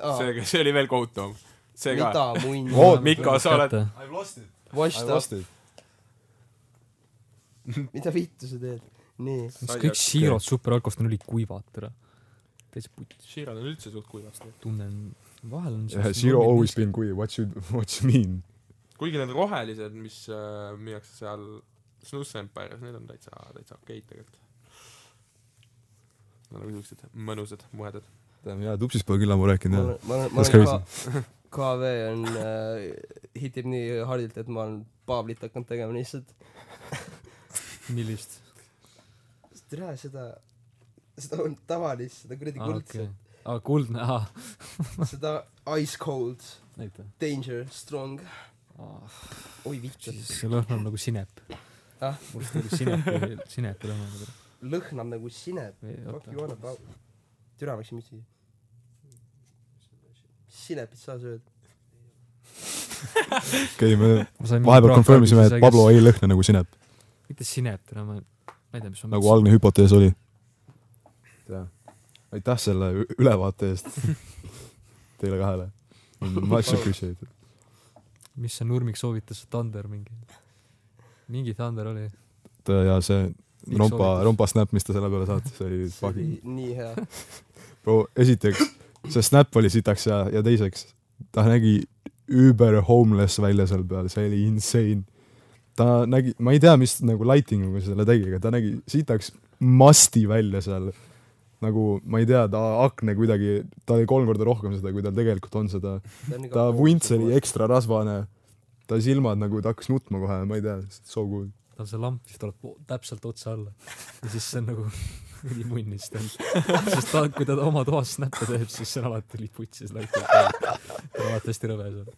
Speaker 5: ah, .
Speaker 3: see , see oli veel kohutavam . see ka .
Speaker 5: mida munn
Speaker 3: Oo, Oot, Mikko, sa oled- .
Speaker 2: I m lost it . I
Speaker 5: Washed up
Speaker 2: lost , it .
Speaker 5: mida vittu sa teed ? nii .
Speaker 4: kõik siirad superalkost on ülikuivad , tere . täitsa putt ,
Speaker 3: Shiral on üldse suht kuivast .
Speaker 4: tunnen , vahel on
Speaker 2: Zero always been kui , what you , what you mean ?
Speaker 3: kuigi need rohelised , mis äh, müüakse seal Snus Empire'is , need on täitsa , täitsa okeid tegelikult . Nad on nagu siuksed mõnusad , muhedad .
Speaker 2: jaa , tupsist pole küll ammu
Speaker 5: ma
Speaker 2: rääkinud
Speaker 5: olen , ma olen , ma
Speaker 2: That's
Speaker 5: olen ka , KV on äh, , hitib nii hardilt , et ma olen Pavlit hakanud tegema lihtsalt .
Speaker 4: millist ?
Speaker 5: tere , seda , seda on tavalist , seda kuradi
Speaker 4: aa ,
Speaker 5: kuldset
Speaker 4: okei . aa , kuldne , aa ,
Speaker 5: seda Ice Cold ,
Speaker 4: näita .
Speaker 5: Danger , Strong . oi vittu ,
Speaker 4: see lõhn on nagu sinep .
Speaker 5: Ah.
Speaker 4: must oli sinep , sinepi lõhn on nagu .
Speaker 5: lõhnab nagu sinep . fuck you on about . türa läks mütsi . sinepit sa sööd .
Speaker 2: okei , me vahepeal confirm isime , et Pablo . ei lõhna nagu sinep ,
Speaker 4: mitte sinep , tere , ma , ma ei tea , mis on .
Speaker 2: nagu algne hüpotees oli . aitäh selle ü- ülevaate eest teile kahele . Much appreciated .
Speaker 4: mis see Nurmik soovitas , Thunder mingi . mingi Thunder oli .
Speaker 2: et äh, ja see
Speaker 4: Miks
Speaker 2: rompa ,
Speaker 4: soovitas?
Speaker 2: rompa snap , mis ta selle peale saatis , see oli
Speaker 5: see oli
Speaker 2: fucking ,
Speaker 5: nii hea .
Speaker 2: bro , esiteks see snap oli sitaks ja , ja teiseks ta nägi über homeless välja seal peal , see oli insane . ta nägi , ma ei tea , mis nagu lighting uga selle tegi , aga ta nägi sitaks masti välja seal . nagu , ma ei tea , ta akne kuidagi ,
Speaker 5: Nagu
Speaker 2: ta oli kolm korda rohkem seda , kui tal tegelikult on seda . ta vunts oli . ekstra rasvane . ta silmad nagu , ta hakkas nutma kohe , ma ei tea , so good .
Speaker 4: tal see lamp siis tuleb po- täpselt otse alla ja siis see on nagu ülimunnis tal sest ta kui ta oma toas snappe teeb siis see on alati liputsis laitub ta on alati hästi rõve seal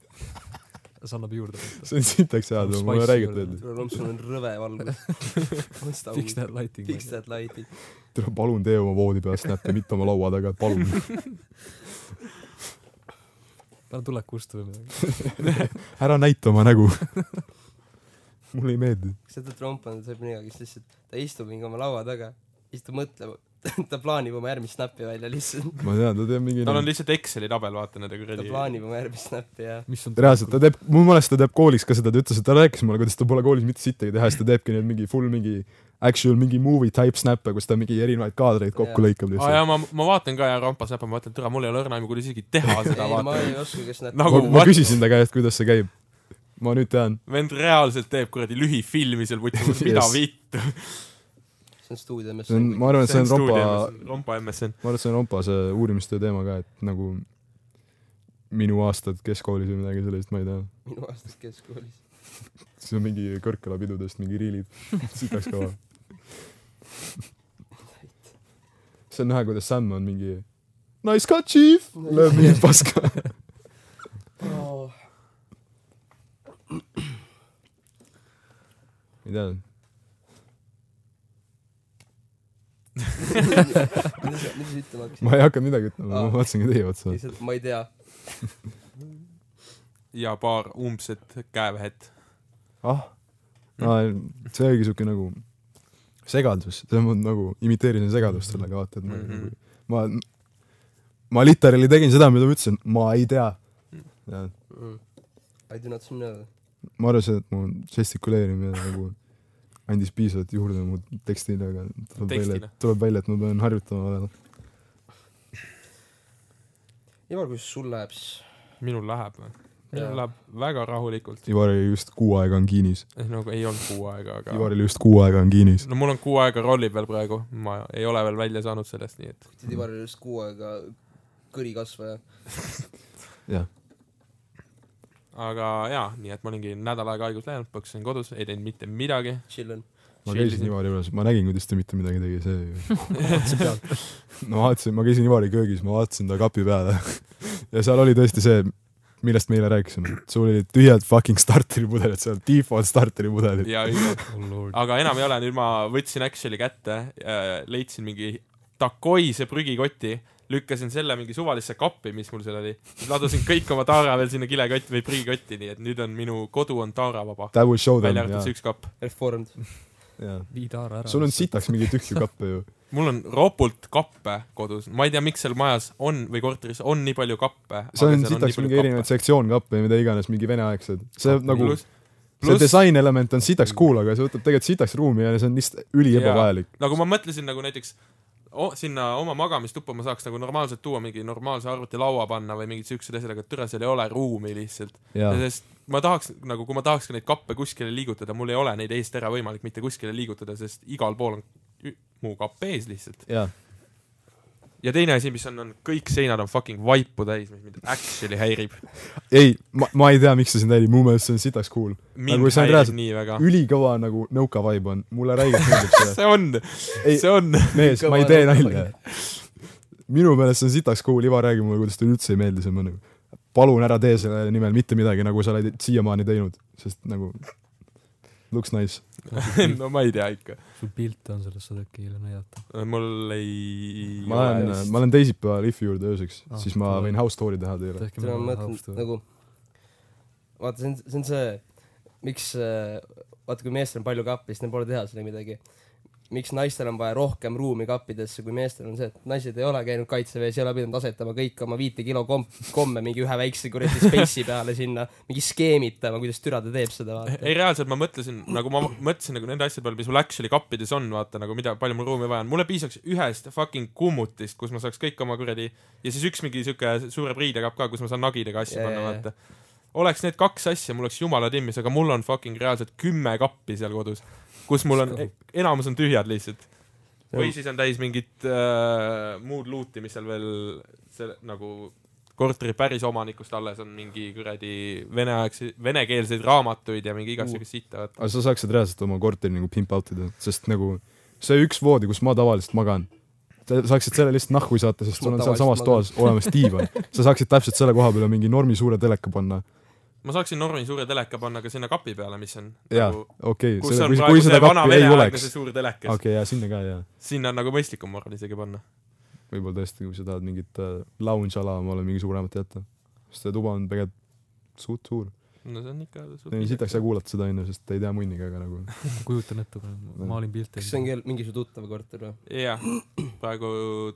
Speaker 4: see annab juurde vaata
Speaker 2: see on sitaks hea too , mulle
Speaker 4: Spice'i
Speaker 2: räägiti ,
Speaker 4: juurde.
Speaker 2: et
Speaker 5: Roms , sul on rõve valgus .
Speaker 4: fix that lighting
Speaker 5: Fix that lighting .
Speaker 2: tere , palun tee oma voodi peal snappe , mitte oma laua taga , palun .
Speaker 4: tal on tulekust või midagi
Speaker 2: ära näita oma nägu . mulle ei meeldi .
Speaker 5: kas seda Trump on see mina , kes lihtsalt , ta istub mingi oma laua taga , siis ta mõtleb , ta plaanib oma järgmist snappi välja lihtsalt .
Speaker 2: ma tean , ta teeb mingi
Speaker 3: tal on lihtsalt Exceli tabel , vaata nende
Speaker 5: ta
Speaker 3: kuradi .
Speaker 5: plaanib oma järgmist snappi ja
Speaker 4: mis on
Speaker 2: reaalselt ta teeb , mu meelest ta teeb koolis ka seda , ta ütles , et ta rääkis mulle , kuidas ta pole koolis mitte sittagi teha , siis ta teebki neil mingi full mingi actual mingi movie type snappe , kus ta mingi erinevaid kaadreid kokku
Speaker 5: Jaa.
Speaker 2: lõikab
Speaker 3: aa
Speaker 2: lihtsalt .
Speaker 3: jaa , ma , ma vaatan ka ja rampas näpab , ma mõtlen , et türa , mul ei ole õrna aimu , kuidas isegi teha seda ,
Speaker 5: ei , ma
Speaker 3: vaata .
Speaker 5: ei oska ka snappi
Speaker 3: Nagu-
Speaker 2: ma, ma
Speaker 3: what?
Speaker 2: küsisin ta käest , kuidas see käib . ma nüüd tean .
Speaker 3: vend reaalselt teeb kuradi lühifilmi seal vutis , mida
Speaker 2: Yes.
Speaker 3: vittu .
Speaker 5: see on stuudio , mis
Speaker 2: see on , ma arvan , et see on rompa ,
Speaker 3: rompa MSN .
Speaker 2: ma arvan , et see on rompa see uurimistöö teema ka , et nagu minu aastad keskkoolis või midagi sellist , ma ei tea .
Speaker 5: nagu minu aastas keskkoolis .
Speaker 2: siis on mingi kõrgkalapidudest mingi riilid . sitaks kõva . see on näha , kuidas Sam on mingi Nice cut , chief! Lööb mingi paska .
Speaker 5: Oh.
Speaker 2: ei tea ,
Speaker 5: mida sa , mida sa ütlema hakkasid ?
Speaker 2: ma ei hakanud midagi ütlema ,
Speaker 5: Aa.
Speaker 2: ma vaatasingi teie otsa .
Speaker 5: lihtsalt ma ei tea .
Speaker 3: ja paar umbset käevähet .
Speaker 2: ah , see oligi siuke nagu segadus , see on mul nagu , imiteerisin segadust sellega , vaata , et ma
Speaker 3: Mhm.
Speaker 2: nagu , ma , ma literaali tegin seda , mida ma ütlesin , ma ei tea . ma
Speaker 5: I do not know .
Speaker 2: arvasin , et mu žestikuleerimine nagu andis piisavalt juurde mu tekstile , aga tuleb välja ,
Speaker 3: Tekstile.
Speaker 2: et tuleb välja , et ma pean harjutama veel .
Speaker 5: Ivar , kuidas sul läheb siis ?
Speaker 3: minul läheb või ? minul
Speaker 5: Jaa.
Speaker 3: läheb väga rahulikult .
Speaker 2: Ivaril just kuu aega on Kiinis ,
Speaker 3: no Eh, nagu ei olnud kuu aega , aga .
Speaker 2: Ivaril just kuu aega on Kiinis .
Speaker 3: no mul on kuu aega rolli peal praegu , ma ei ole veel välja saanud sellest , nii et .
Speaker 5: ütled Ivarile just kuu aega kõrikasvaja .
Speaker 2: jah ,
Speaker 3: aga jaa , nii et ma olingi nädal aega haigust läinud , põksasin kodus , ei teinud mitte midagi .
Speaker 5: chill on .
Speaker 2: ma käisin Ivari juures , ma nägin , kuidas ta mitte midagi tegi , see ju
Speaker 4: otse pealt
Speaker 2: ma vaatasin , ma käisin Ivari köögis , ma vaatasin ta kapi peale ja seal oli tõesti see , millest me eile rääkisime , sul olid tühjad fucking starteripudelid seal , default starteripudelid .
Speaker 3: ja õige .
Speaker 4: oh lord
Speaker 3: aga enam ei ole , nüüd ma võtsin Actioni kätte , leidsin mingi takoise prügikoti , lükkasin selle mingi suvalisse kappi , mis mul seal oli , ladusin kõik oma taara veel sinna kilekotti või prügikotti , nii et nüüd on minu kodu on taaravaba .
Speaker 2: That will show them
Speaker 3: välja , arvatud see üks kapp .
Speaker 5: Reformed .
Speaker 2: jaa .
Speaker 4: vii taara ära
Speaker 2: sul on sitaks mingi tükk ju kappe ju .
Speaker 3: mul on ropult kappe kodus , ma ei tea , miks seal majas on või korteris on nii palju kappe .
Speaker 2: seal on sitaks mingi erinevaid sektsioonkappe ja mida iganes , mingi veneaegsed . see nagu ,
Speaker 3: pluss ,
Speaker 2: see
Speaker 3: pluss ,
Speaker 2: disainelement on sitaks cool , aga see võtab tegelikult sitaks ruumi ja see on lihtsalt üli
Speaker 3: Jaa.
Speaker 2: ebavajalik .
Speaker 3: nagu ma mõtlesin nagu näiteks o, sinna oma magamistuppa ma saaks nagu normaalselt tuua mingi normaalse arvutilaua panna või mingid siuksed asjad , aga türa , seal ei ole ruumi lihtsalt .
Speaker 2: jaa ,
Speaker 3: sest ma tahaks nagu , kui ma tahaks ka neid kappe kuskile liigutada , mul ei ole neid eest ära võimalik mitte kuskile liigutada , sest igal pool on ü- mu kapp ees lihtsalt .
Speaker 2: jaa .
Speaker 3: ja teine asi , mis on , on kõik seinad on fucking vaipu täis , mis mind actually häirib .
Speaker 2: ei , ma , ma ei tea , miks see sind häirib , mu meelest see on sitaks cool .
Speaker 3: mind
Speaker 2: Nagu
Speaker 3: nagu
Speaker 2: see on
Speaker 3: häirib
Speaker 2: reaalselt-
Speaker 3: nii väga .
Speaker 2: ülikõva nagu nõuka vibe on , mulle räigelt meeldib see .
Speaker 3: see on ,
Speaker 2: Ei-
Speaker 3: see on .
Speaker 2: mees , ma ei
Speaker 5: Kõva
Speaker 2: tee
Speaker 5: nõuka
Speaker 2: nalja . minu meelest see on sitaks cool , Ivar räägib mulle , kuidas talle üldse ei meeldi see mõnu . palun ära tee selle nimel mitte midagi , nagu sa oled siiamaani teinud , sest nagu looks nice .
Speaker 3: no ma ei tea ikka .
Speaker 4: sul pilte on sellest saad äkki hiljem näidata
Speaker 3: mul ei
Speaker 2: ma
Speaker 3: ole
Speaker 2: lähen
Speaker 3: vist- ,
Speaker 2: ma lähen teisipäeval IF-i juurde ööseks
Speaker 4: Ah, ,
Speaker 2: siis ma
Speaker 4: tore.
Speaker 2: võin house tour'i teha teile .
Speaker 4: tehke
Speaker 5: ma
Speaker 4: mulle
Speaker 5: mõtlen
Speaker 4: haavstu
Speaker 5: nagu , vaata , see on , see on see , miks , vaata kui meestel on palju kappi , siis neil pole teha sellega midagi . miks naistel on vaja rohkem ruumi kappidesse , kui meestel on see , et naised ei ole käinud kaitseväes , ei ole pidanud asetama kõik oma viite kilo kom- , komme mingi ühe väikse kuradi space'i peale sinna , mingi skeemitama , kuidas türa ta teeb seda , vaata .
Speaker 3: ei reaalselt ma mõtlesin , nagu ma mõtlesin nagu nende asjade peale , mis mul actually kappides on , vaata nagu mida , palju mul ruumi vaja on , mulle piisaks ühest fucking kummutist , kus ma saaks kõik oma kuradi ja siis üks mingi siuke suure priidekapp ka , kus ma saan nagidega asju
Speaker 5: Jaa,
Speaker 3: panna ,
Speaker 5: jaa,
Speaker 3: vaata . oleks need kaks asja , mul oleks jumala timmis , aga mul on fucking reaalselt kümme kappi seal kodus , kus mul on , enamus on tühjad lihtsalt . või siis on täis mingit äh, muud luuti , mis seal veel selle nagu korteri päris omanikust alles on mingi kuradi veneaegse , venekeelseid raamatuid ja mingi igasugust sitta , vaata .
Speaker 2: aga sa saaksid reaalselt oma korteri nagu pimp out ida , sest nagu see üks voodi , kus ma tavaliselt magan , sa saaksid selle lihtsalt nahku saata , sest
Speaker 5: Ma
Speaker 2: sul on
Speaker 5: tavaliselt
Speaker 2: sealsamas
Speaker 5: magan.
Speaker 2: toas olemas diivan . sa saaksid täpselt selle koha peale mingi normi suure teleka panna .
Speaker 3: ma saaksin Normi suure teleka panna ka sinna kapi peale , mis on
Speaker 2: jaa
Speaker 3: nagu ,
Speaker 2: okei ,
Speaker 3: kus on
Speaker 2: kui, kui
Speaker 3: praegu
Speaker 2: seda
Speaker 3: see vana
Speaker 2: kappi ei
Speaker 3: veneaegne
Speaker 2: oleks
Speaker 3: see . suur telekas okay. .
Speaker 2: okei , jaa , sinna ka jaa .
Speaker 3: sinna on nagu mõistlikum , ma arvan , isegi panna .
Speaker 2: võib-olla tõesti , kui sa tahad mingit äh, lounge ala omale mingi suuremat jätta . sest see tuba on tegelikult suht suur .
Speaker 3: no see on ikka suht-
Speaker 2: ei sitaks nagu ja kuulata seda onju , sest ei tea munnigi , aga nagu
Speaker 4: ma kujutan ette , kui ma maalin pilte .
Speaker 5: kas see on kell , mingi su tuttava korter või ?
Speaker 3: jah , praegu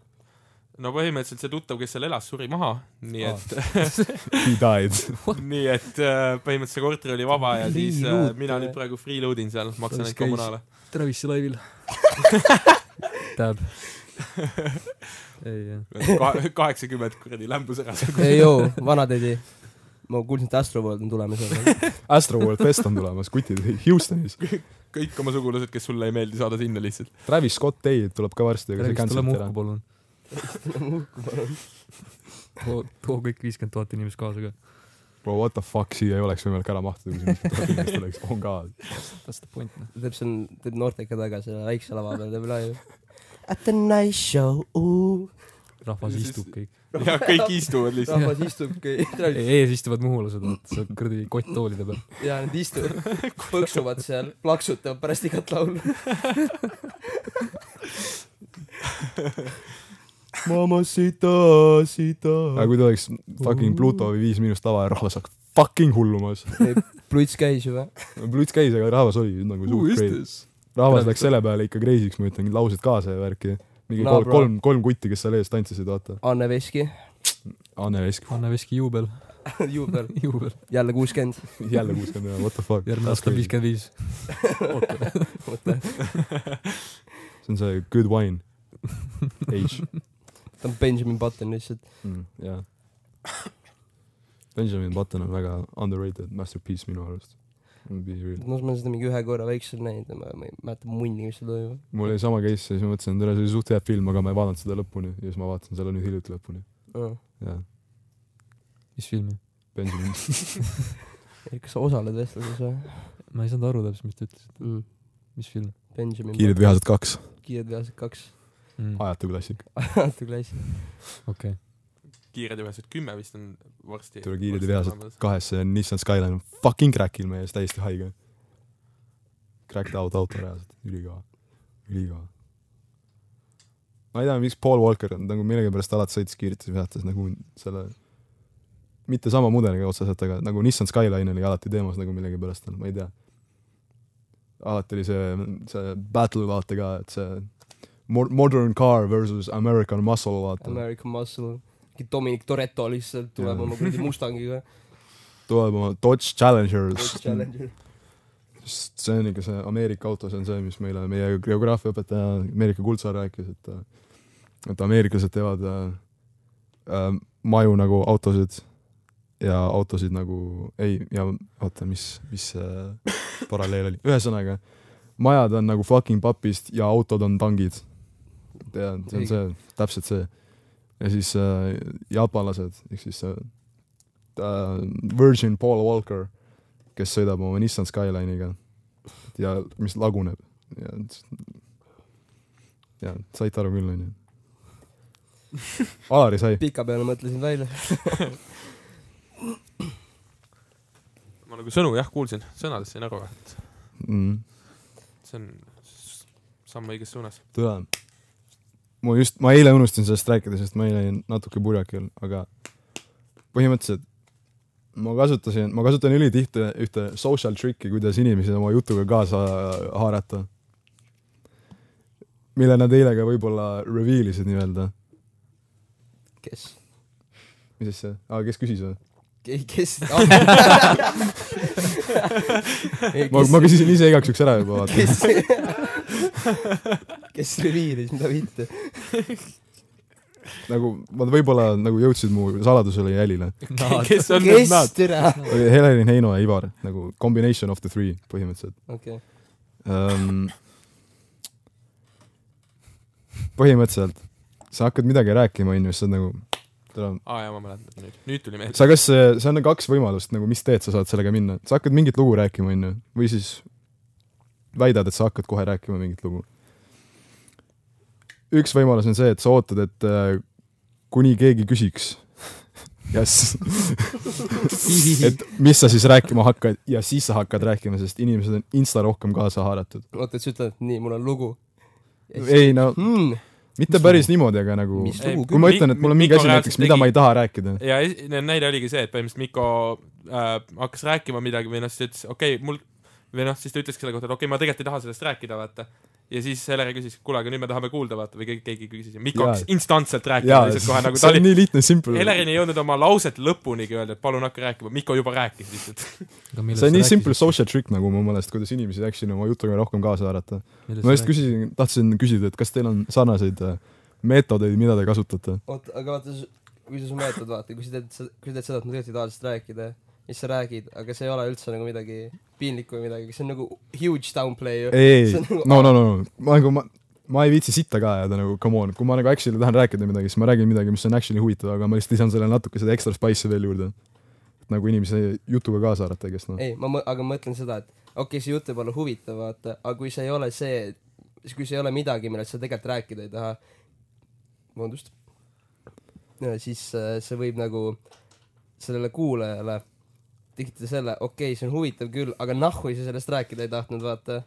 Speaker 3: no põhimõtteliselt see tuttav , kes seal elas , suri maha , nii
Speaker 4: Aa.
Speaker 3: et ,
Speaker 2: he died .
Speaker 3: nii et äh, põhimõtteliselt see korter oli vaba ja siis äh,
Speaker 4: Freeload.
Speaker 3: mina nüüd praegu freeload in seal , maksan
Speaker 4: Nice
Speaker 3: ainult kommunaale .
Speaker 4: Travis'i laivil Tab . ei jah .
Speaker 3: Kahe- kaheksakümmend kuradi lämbus ära seal .
Speaker 5: ei joo , vanatädi . ma kuulsin , et Astroworld on tulemas .
Speaker 2: Astro World Fest on tulemas , kutid Houstonis .
Speaker 3: kõik oma sugulased , kes sulle ei meeldi , saada sinna lihtsalt .
Speaker 2: Travis Scott Day tuleb ka varsti , aga see
Speaker 4: Travis , tule
Speaker 2: canceliti
Speaker 4: muhku ,
Speaker 2: ära .
Speaker 4: palun . too , too kõik viiskümmend tuhat inimest kaasa ka .
Speaker 2: Bro , what the fuck , siia ei oleks võimalik ära mahtuda , kui siin miskit inimest oleks , oh on ka .
Speaker 4: That's the point noh .
Speaker 5: teeb siin , teeb noortega taga selle väikse lava peal , teeb laiali . At the nice show ,
Speaker 4: rahvas
Speaker 3: Ja siis-
Speaker 4: istub kõik .
Speaker 3: ja kõik istuvad lihtsalt .
Speaker 5: rahvas istubki ,
Speaker 4: ees istuvad muhulased , vaata , seal kuradi kotttoolide peal .
Speaker 5: ja nad istuvad , põksuvad seal , plaksutavad pärast igat laulu .
Speaker 2: Mamacita , sita . aga kui ta oleks fucking Pluto või Viis Miinus tava ja rahvas oleks fucking hullumas .
Speaker 5: pluits käis juba .
Speaker 2: Bluts käis , aga rahvas oli nagu suht crazy . rahvas läks selle peale ikka crazy'ks , ma ütlen , laused kaasa ja värki . mingi
Speaker 5: No,
Speaker 2: kol-
Speaker 5: bro.
Speaker 2: kolm , kolm kutti , kes seal ees tantsisid , vaata .
Speaker 5: Anne Veski ,
Speaker 2: Anne Vesk ,
Speaker 4: Anne Veski juubel ,
Speaker 5: juubel ,
Speaker 4: juubel .
Speaker 5: jälle kuuskümmend .
Speaker 2: jälle kuuskümmend ühe , what the fuck .
Speaker 4: järgmine aasta on . viiskümmend viis .
Speaker 2: see on see good wine . H
Speaker 5: ta on Benjamin Button lihtsalt .
Speaker 2: mm, . jah . Benjamin Button on väga underrated masterpiece minu arust . Mm, Be real .
Speaker 5: noh , ma olen seda mingi ühe korra väiksel näinud ja ma , ma ei mäleta munni , mis seal toimub .
Speaker 2: mul oli sama case ja siis ma mõtlesin , et üle see oli suht hea film , aga ma ei vaadanud seda lõpuni ja siis ma vaatasin selle nüüd hiljuti lõpuni . jah ,
Speaker 4: mis filmi ?
Speaker 2: Benjamin .
Speaker 5: kas sa osaled vestluses või
Speaker 4: ma ei saanud aru täpselt , mis ta ütles ,
Speaker 5: mm. ?
Speaker 4: mis film
Speaker 5: Benjamin .
Speaker 2: kiired vihased kaks .
Speaker 5: kiired veased kaks .
Speaker 4: mm. .
Speaker 2: ajatu klassik .
Speaker 5: alati klassi .
Speaker 4: okei okay. ,
Speaker 3: kiired ja ühesed kümme vist on varsti .
Speaker 2: tule kiired ja vihased . kahesse ja Nissan Skyline on fucking crack'il meie ees , täiesti haige . Cracked out auto reaalselt , ülikõva , ülikõva . ma ei tea , miks Paul Walker on nagu millegipärast alati sõitis kiirelt ja vihastas nagu selle , mitte sama mudeliga otseselt , aga nagu Nissan Skyline oli alati teemas nagu millegipärast , ma ei tea . alati oli see , see battle vaata ka , et see mo- modern car versus American muscle vaata .
Speaker 5: American Muscle . mingi Dominic Toretto lihtsalt tuleb
Speaker 2: Jaa.
Speaker 5: oma kuradi Mustangiga .
Speaker 2: tuleb oma Dodge Challengers
Speaker 5: Challenger .
Speaker 2: sest see on ikka see Ameerika auto , see on see , mis meile meie geograafiaõpetaja Ameerika Kuldsaar rääkis , et äh, et ameeriklased teevad äh, äh, maju nagu autosid ja autosid nagu ei , ja oota , mis , mis see paralleel oli , ühesõnaga majad on nagu fucking papist ja autod on tangid . tead , see on see , täpselt see . ja siis äh, jaapanlased ehk siis äh, äh, Virgin Paul Walker , kes sõidab oma Nissan Skyline'iga ja mis laguneb ja , ja saite aru küll , onju . Alari sai ,
Speaker 5: pika peale mõtlesin välja .
Speaker 3: ma nagu sõnu jah kuulsin , sõnadest sain aru , et
Speaker 2: Mm.
Speaker 3: see on s- samm õiges suunas .
Speaker 2: tule . ma just , ma eile unustasin sellest rääkida , sest ma eile olin natuke purjakil , aga põhimõtteliselt ma kasutasin , ma kasutan ülitihti ühte social trick'i , kuidas inimesi oma jutuga kaasa haarata . mille nad eile ka võib-olla reveal isid nii-öelda .
Speaker 5: kes ?
Speaker 2: mis asja ah, , kes küsis või ?
Speaker 5: ei , kes ?
Speaker 2: ma , ma küsisin ise igaks juhuks ära juba , vaata .
Speaker 5: kes , kes reviiris , mida viite ?
Speaker 2: nagu nad võib-olla nagu jõudsid mu saladusele jälile .
Speaker 3: kes on nüüd
Speaker 5: kes
Speaker 3: nad ?
Speaker 5: türa ?
Speaker 2: oli Helen , Heino ja Ivar , nagu combination of the three põhimõtteliselt .
Speaker 5: okei ,
Speaker 2: um, . põhimõtteliselt sa hakkad midagi rääkima , onju , siis sa oled nagu tere .
Speaker 3: aa jaa , ma mäletan nüüd . nüüd tuli meelde .
Speaker 2: sa kas , see on kaks võimalust nagu , mis teed sa saad sellega minna , sa hakkad mingit lugu rääkima , onju , või siis väidad , et sa hakkad kohe rääkima mingit lugu . üks võimalus on see , et sa ootad , et äh, kuni keegi küsiks ja s- , et mis sa siis rääkima hakkad ja siis sa hakkad rääkima , sest inimesed on insta rohkem kaasa haaratud .
Speaker 5: oota , et sa ütled , nii , mul on lugu .
Speaker 2: ei no
Speaker 5: hmm, .
Speaker 2: mitte päris niimoodi , aga nagu
Speaker 5: Mis-
Speaker 2: kui ma ütlen , et mul on mingi asi näiteks , mida ma ei taha rääkida .
Speaker 3: ja es- ne- näide oligi see , et põhimõtteliselt Mikko äh, hakkas rääkima midagi või noh , siis ta ütles , okei okay, , mul või noh , siis ta ütleski selle kohta , et okei okay, , ma tegelikult ei taha sellest rääkida , vaata . ja siis Helere küsis , kuule , aga nüüd me tahame kuulda , vaata , või keegi , keegi küsis ja Mikko
Speaker 2: Jaa.
Speaker 3: hakkas instantselt rääkima
Speaker 2: jaa ,
Speaker 3: lihtsalt kohe nagu
Speaker 2: see
Speaker 3: ta
Speaker 2: on
Speaker 3: oli ,
Speaker 2: nii lihtne , simple .
Speaker 3: Helerini ei jõudnud oma lauset lõpunigi öelda , et palun hakka rääkima , Mikko juba rääkis lihtsalt .
Speaker 2: see on nii simple . social trick nagu mu meelest , kuidas inimesi actually oma jutuga rohkem kaasa haarata . ma just . küsisin , tahtsin küsida , et kas teil on sarnaseid äh, meetodeid , mida te kasutate ?
Speaker 5: oota , aga vaata , kui sa su meetod vaata , kui sa teed , kui sa teed seda , et ma tegelikult ei taha lihtsalt rääkida , siis sa räägid , aga see ei ole üldse nagu midagi piinlikku või midagi , see on nagu huge downplay ju .
Speaker 2: ei
Speaker 5: See on , nagu-
Speaker 2: no , no , no , ma nagu , ma , ma ei viitsi sitta ka ajada nagu , come on , kui ma nagu actually tahan rääkida midagi , siis ma räägin midagi , mis on actually huvitav , aga ma lihtsalt lisan sellele natuke seda ekstra spice'i veel juurde . et nagu inimesi jutuga kaasa haarata , kes noh ,
Speaker 5: ei , ma mõ- , aga ma mõtlen seda , et okei okay, , see jutt võib olla huvitav , vaata , aga kui see ei ole see , kui see ei ole midagi , millest sa tegelikult rääkida ei taha , vabandust , siis äh, see võib nagu sellele kuulajale tekitada selle , okei okay, , see on huvitav küll , aga nahhu sa sellest rääkida ei tahtnud , vaata .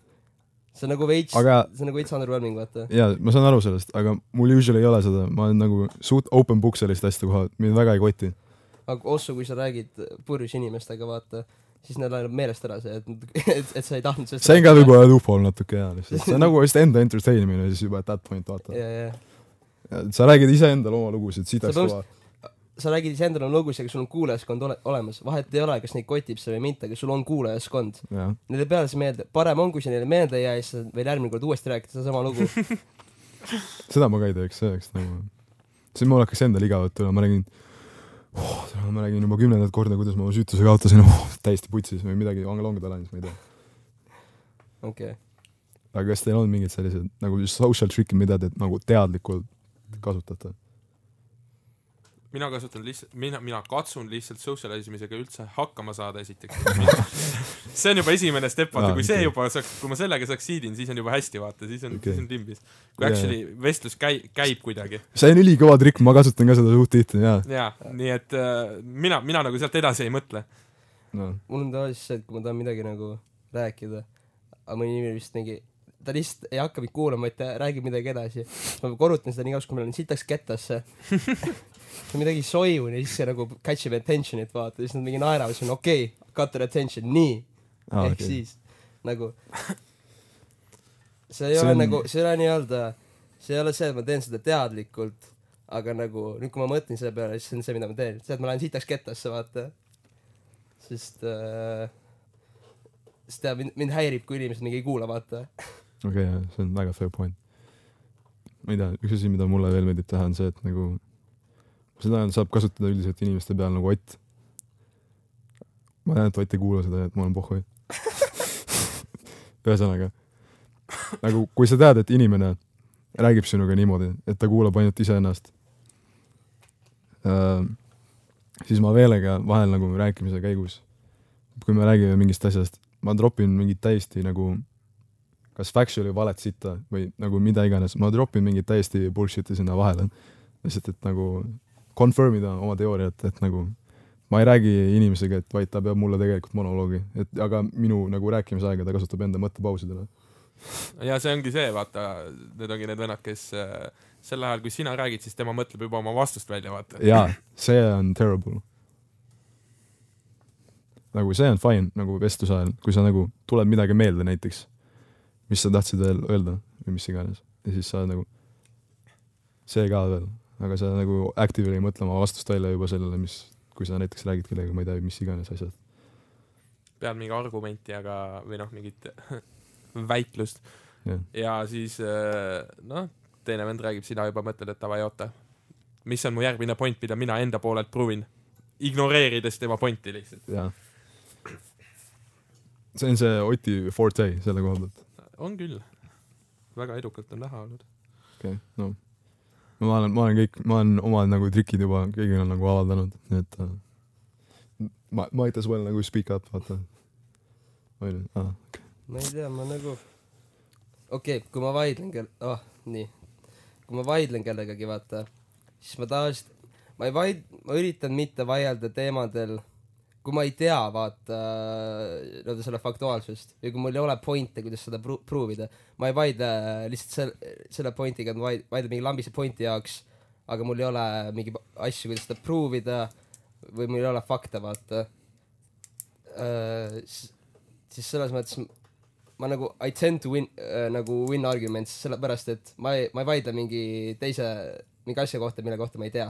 Speaker 5: see on nagu veits aga...
Speaker 2: Aga- ,
Speaker 5: see on nagu veits underwhelming , vaata .
Speaker 2: jaa , ma saan aru sellest , aga mul usually ei ole seda , ma olen nagu suht open book selliste asjade koha , mind väga ei koti .
Speaker 5: aga ossu , kui sa räägid purjus inimestega , vaata , siis neil läheb meelest ära see , et , et , et sa ei tahtnud sellest
Speaker 2: see on ka . võib-olla loophole natuke jaa , lihtsalt see on nagu vist enda entertain imine siis juba at that point vaata .
Speaker 5: jaa , jaa
Speaker 2: sa räägid iseendale oma lugusid , sitaks
Speaker 5: Sa
Speaker 2: kõva .
Speaker 5: sa räägid iseendale oma lugusid , aga sul on kuulajaskond ole- , olemas , vahet ei ole , kas neid kotib see või mitte , aga sul on kuulajaskond .
Speaker 2: jah ,
Speaker 5: Neile peale see meelde , parem on , kui see neile meelde ei jää ja siis sa võid järgmine kord uuesti rääkida sedasama lugu .
Speaker 2: seda ma ka ei teeks , see oleks nagu , siis mul hakkaks endal igav tulema , ma räägin oh, , ma räägin juba kümnendat korda , kuidas ma oma süütuse kaotasin oh, , täiesti putsis või midagi vanglangeda läinud , ma ei tea .
Speaker 5: okei ,
Speaker 2: aga kas teil on mingid sellised nagu social trick'id , mida te nagu teadlikult kasutate ?
Speaker 3: mina kasutan lihtsalt , mina , mina katsun lihtsalt social isimisega üldse hakkama saada esiteks . see on juba esimene step , vaata
Speaker 2: Aa, ,
Speaker 3: kui see
Speaker 2: okei.
Speaker 3: juba saaks , kui ma sellega succeed in , siis on juba hästi , vaata , siis on okay. ,
Speaker 2: Okei.
Speaker 3: siis on timbis . kui
Speaker 2: Jaa.
Speaker 3: actually vestlus käi- , käib kuidagi .
Speaker 2: see on ülikõva trikk , ma kasutan ka seda suht tihti , jaa
Speaker 3: jaa , nii et äh, mina , mina nagu sealt edasi ei mõtle .
Speaker 2: no. .
Speaker 5: mul on tavaliselt see , et kui ma tahan midagi nagu rääkida , aga mõni inimene vist mingi , ta lihtsalt ei hakka mind kuulama , vaid ta räägib midagi edasi . siis ma korrutan seda nii kauaks , kui ma lähen sitaks kettasse . midagi soiun ja siis see nagu catch ib attention'it vaata , siis nad mingi naeravad , siis on okei okay, , cut your attention , nii ah, ehk okay. siis nagu see
Speaker 2: See
Speaker 5: ei see ole
Speaker 2: on-
Speaker 5: on... nagu , see ei ole nii-öelda , see ei ole see , et ma teen seda teadlikult , aga nagu nüüd , kui ma mõtlen selle peale , siis see on see , mida ma teen , see , et ma lähen sitaks kettasse , vaata . sest äh, , sest tead , mind , mind häirib , kui inimesed mingi ei kuula , vaata .
Speaker 2: okei okay, , see on väga fair point . ma ei tea , üks asi , mida mulle veel meeldib teha , on see , et nagu seda saab kasutada üldiselt inimeste peal nagu Ott . ma tean , et Ott ei kuula seda , et ma olen pohhui . ühesõnaga , nagu kui sa tead , et inimene räägib sinuga niimoodi , et ta kuulab ainult iseennast , siis ma veelega vahel nagu rääkimise käigus , kui me räägime mingist asjast , ma tropin mingit täiesti nagu kas factually valet sitta või nagu mida iganes , ma drop in mingit täiesti bullshit'i sinna vahele . lihtsalt , et nagu confirm ida oma teooriat , et nagu ma ei räägi inimesega , et vaid ta peab mulle tegelikult monoloogi , et aga minu nagu rääkimisaega ta kasutab enda mõttepausidele .
Speaker 3: ja see ongi see , vaata , need ongi need vennad , kes äh, sel ajal , kui sina räägid , siis tema mõtleb juba oma vastust välja , vaata .
Speaker 2: jaa , see on terrible . nagu see on fine nagu vestluse ajal , kui sa nagu tuleb midagi meelde näiteks , mis sa tahtsid veel öelda või mis iganes ja siis sa nagu , see ka veel , aga sa nagu actively ei mõtle oma vastust välja juba sellele , mis , kui sa näiteks räägid kellegagi , ma ei tea , mis iganes asjad .
Speaker 3: pead mingi argumenti , aga , või noh , mingit väitlust
Speaker 2: Jah. .
Speaker 3: ja siis äh, noh , teine vend räägib , sina juba mõtled , et davai , oota . mis on mu järgmine point , mida mina enda poolelt pruuvin ? ignoreerides tema pointi lihtsalt .
Speaker 2: jaa . see on see Oti forte selle koha pealt .
Speaker 3: on küll . väga edukalt on näha olnud .
Speaker 2: okei okay, , no noh. ma olen , ma olen kõik , ma olen omad nagu trikid juba kõigil on nagu avaldanud , nii et äh, ma , might as well nagu speak up , vaata . onju , aa ,
Speaker 5: ma ei tea , ma nagu , okei okay, , kui ma vaidlen kell- , ah , nii . kui ma vaidlen kellegagi , vaata , siis ma tavaliselt , ma ei vaid- , ma üritan mitte vaielda teemadel , kui ma ei tea , vaata , nii-öelda selle faktuaalsust või kui mul ei ole point'e , kuidas seda pru- , pruuvida . ma ei vaidle lihtsalt selle , selle point'iga , ma vaid- , vaidlen mingi lambise point'i jaoks , aga mul ei ole mingi asju , kuidas seda pruuvida või mul ei ole fakte , vaata . siis selles mõttes m- ma nagu I tend to win äh, nagu win arguments sellepärast et ma ei ma ei vaidle mingi teise mingi asja kohta mille kohta ma ei tea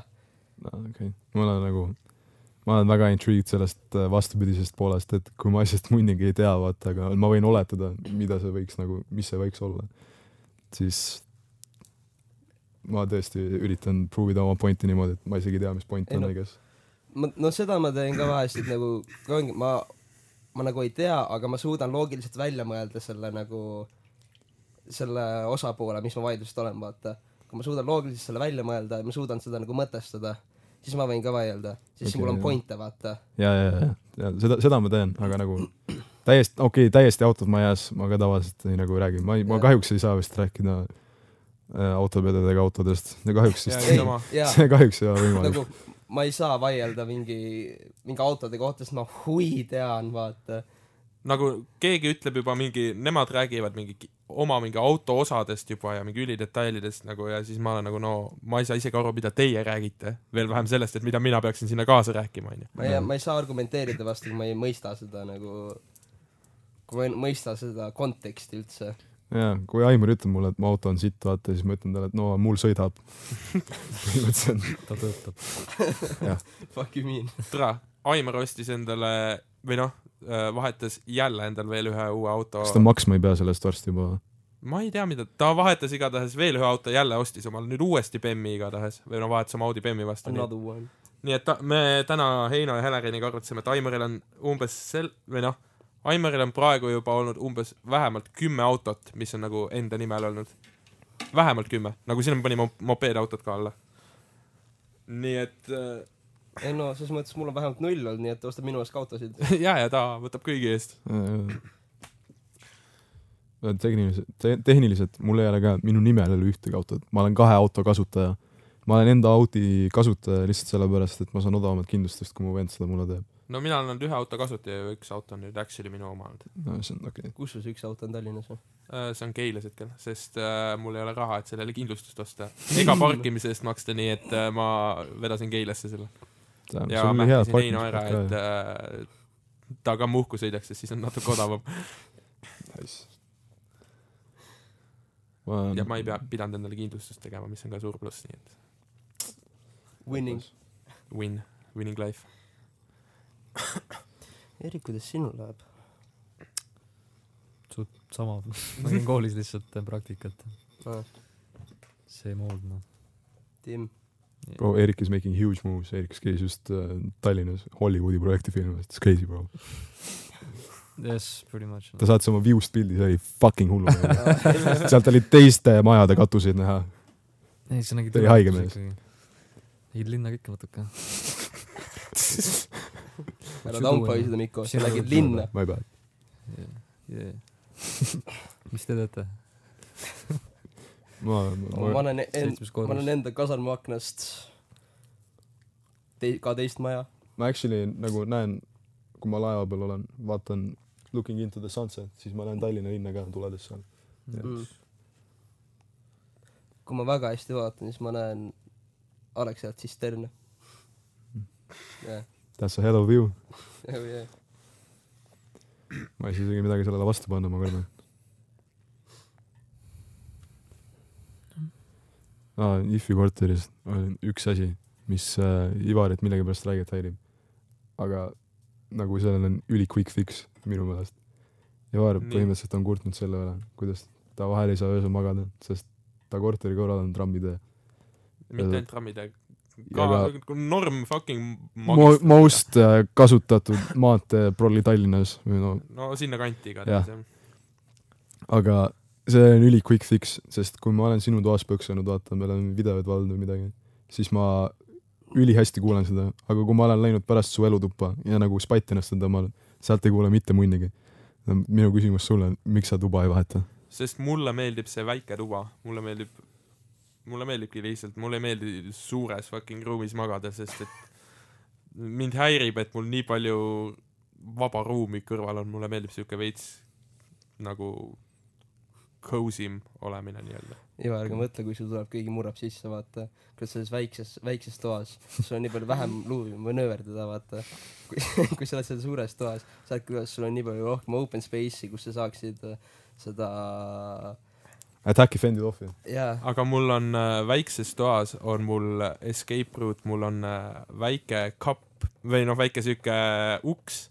Speaker 2: okei okay. . ma olen nagu , ma olen väga intrigued sellest äh, vastupidisest poolest , et kui ma asjast muidugi ei tea , vaata , aga ma võin oletada , mida see võiks nagu , mis see võiks olla , siis ma tõesti üritan pruuvida oma pointi niimoodi , et ma isegi ei tea , mis point
Speaker 5: Ei
Speaker 2: on
Speaker 5: no. ,
Speaker 2: I guess .
Speaker 5: ma no seda ma teen ka vahest et nagu kui ongi ma ma nagu ei tea aga ma suudan loogiliselt välja mõelda selle nagu selle osapoole mis ma vaidlusest olen vaata kui ma suudan loogiliselt selle välja mõelda ja ma suudan seda nagu mõtestada siis ma võin ka vaielda siis
Speaker 2: Okei,
Speaker 5: okay, mul on
Speaker 2: jah.
Speaker 5: point'e vaata
Speaker 2: ja , ja , ja , ja seda , seda ma teen , aga nagu täiesti , okei okay, , täiesti autot ma ei ajas , ma ka tavaliselt ei nagu räägi , ma ei , ma
Speaker 5: Jah.
Speaker 2: kahjuks ei saa vist rääkida äh, autopedadega autodest , kahjuks
Speaker 3: Jaa,
Speaker 2: vist
Speaker 3: ei,
Speaker 5: ei
Speaker 3: sama.
Speaker 5: jaa
Speaker 2: see kahjuks ei ole võimalik .
Speaker 5: nagu ma ei saa vaielda mingi mingi autode kohta sest ma hui tean vaata
Speaker 3: nagu keegi ütleb juba mingi , nemad räägivad mingi ki- oma mingi auto osadest juba ja mingi ülidetailidest nagu ja siis ma olen nagu no ma ei saa isegi aru , mida teie räägite , veel vähem sellest , et mida mina peaksin sinna kaasa rääkima , onju .
Speaker 5: ma ei , ma ei saa argumenteerida vastu , kui ma ei mõista seda nagu , kui ma ei mõista seda konteksti üldse .
Speaker 2: jaa , kui Aimar ütleb mulle , et mu auto on sitt , vaata , siis ma ütlen talle , et no mul sõidab . põhimõtteliselt ,
Speaker 4: ta töötab .
Speaker 5: Fuck you mean .
Speaker 3: tere , Aimar ostis endale või noh , vahetas jälle endal veel ühe uue auto .
Speaker 2: kas ta maksma ei pea selle eest varsti juba või ?
Speaker 3: ma ei tea , mida , ta vahetas igatahes veel ühe auto , jälle ostis omale nüüd uuesti BMW igatahes või no vahetas oma Audi BMW vastu .
Speaker 5: Another one .
Speaker 3: nii et ta, me täna Heino ja Heleniga arutasime , et Aimaril on umbes sel- , või noh , Aimaril on praegu juba olnud umbes vähemalt kümme autot , mis on nagu enda nimel olnud . vähemalt kümme , nagu sinna me panime mop- mopeedautod ka alla . nii et äh,
Speaker 5: ei no selles mõttes mul on vähemalt null olnud , nii et osta minu eest ka autosid .
Speaker 3: ja , ja ta võtab kõigi eest .
Speaker 2: Äh, tehniliselt äh, te, , tehniliselt mul ei ole ka , minu nimel ei ole ühtegi autot , ma olen kahe auto kasutaja . ma olen enda Audi kasutaja lihtsalt sellepärast , et ma saan odavamat kindlustust , kui mu vend seda mulle teeb .
Speaker 3: no mina olen olnud ühe auto kasutaja ja üks auto on nüüd actually minu oma olnud .
Speaker 2: no see on okei okay. .
Speaker 5: kus sul see üks auto on Tallinnas või ?
Speaker 3: Äh, see on Keilas hetkel , sest äh, mul ei ole raha , et sellele kindlustust osta ega parkimise eest maksta , nii et äh, ma vedasin Keilasse selle .
Speaker 2: see on
Speaker 3: ja
Speaker 2: see on hea
Speaker 3: mähkisin Heino ära , et
Speaker 2: parkimispaik
Speaker 3: äh, ta ka muhku sõidaks , sest siis on natuke odavam
Speaker 2: ka . ma
Speaker 3: ja ma ei pea , pidanud endale kindlustust tegema , mis on ka suur pluss , nii et
Speaker 5: Winning .
Speaker 3: win , winning life .
Speaker 5: Erik , kuidas sinul läheb ?
Speaker 4: sama , ma käin koolis lihtsalt teen praktikat .
Speaker 5: Aa.
Speaker 4: Same old noh .
Speaker 5: Tim .
Speaker 2: Bro , Erik is making huge moves , Erik käis just äh, Tallinnas Hollywoodi projekti filmis , it's crazy bro .
Speaker 4: Yes , pretty much
Speaker 2: ta . saatis oma view'st pildi , see oli fucking hullumeelne . sealt oli teiste majade katuseid näha .
Speaker 4: ei , see nägi
Speaker 2: ta oli haige mees. .
Speaker 4: tegid linna kõike natuke .
Speaker 5: ära tampa seda Mikko , sa läksid linna .
Speaker 2: My bad .
Speaker 4: mis te teete ?
Speaker 2: ma ,
Speaker 5: ma
Speaker 2: ma ,
Speaker 5: panen end ,
Speaker 4: seitsmes
Speaker 5: ma panen
Speaker 4: korrus .
Speaker 5: enda kasarmu aknast tei- , ka teist maja .
Speaker 2: ma actually nagu näen , kui ma laeva peal olen , vaatan looking into the sunset , siis ma näen Tallinna linna ka tuledes seal .
Speaker 5: Mm. kui ma väga hästi vaatan , siis ma näen Alexela tsisterne . jah ,
Speaker 2: That's a hell of a view .
Speaker 5: Mm. jah , jah .
Speaker 2: ma ei saa isegi midagi sellele vastu panna , ma kardan . aa , Ifi korteris oli üks asi , mis äh, Ivarit millegipärast räigelt häirib . aga nagu sellel on üli quick fix minu meelest . Ivar
Speaker 3: Nii.
Speaker 2: põhimõtteliselt on kurtnud selle üle , kuidas ta vahel ei saa öösel magada , sest ta korteri kõrval on trammitee .
Speaker 3: mitte ainult trammide , ka
Speaker 2: Äh,
Speaker 3: nagu
Speaker 2: ja ka
Speaker 3: norm fucking
Speaker 2: mo-
Speaker 3: magist- ,
Speaker 2: most äh, kasutatud maantee Prolli Tallinnas või no
Speaker 3: no sinna kanti
Speaker 2: Jah.
Speaker 3: igatahes jah .
Speaker 2: aga see on üli quick fix , sest kui ma olen sinu toas põksunud , vaata , me oleme videoid vaadanud või midagi , siis ma ülihästi kuulan seda , aga kui ma olen läinud pärast su elutuppa ja nagu spatti ennast enda omal , sealt ei kuule mitte munnigi . minu küsimus sulle , miks sa tuba ei vaheta ?
Speaker 3: sest mulle meeldib see väike tuba , mulle meeldib , mulle meeldibki lihtsalt , mulle ei meeldi suures fucking ruumis magada , sest et mind häirib , et mul nii palju vaba ruumi kõrval on , mulle meeldib siuke veits nagu cozy m olemine nii-öelda .
Speaker 5: Ivar , aga mõtle , kui sul tuleb , keegi murrab sisse , vaata , kuidas selles väikses , väikses toas , sul on nii palju vähem ruumi manööverdada , vaata . kui , kui sa oled seal suures toas , sealt küljest sul on nii palju rohkem open space'i , kus sa saaksid äh, seda ,
Speaker 2: Attack'i fendid off'i .
Speaker 5: jaa ,
Speaker 3: aga mul on äh, väikses toas on mul escape route , mul on äh, väike kapp või noh , väike siuke uks ,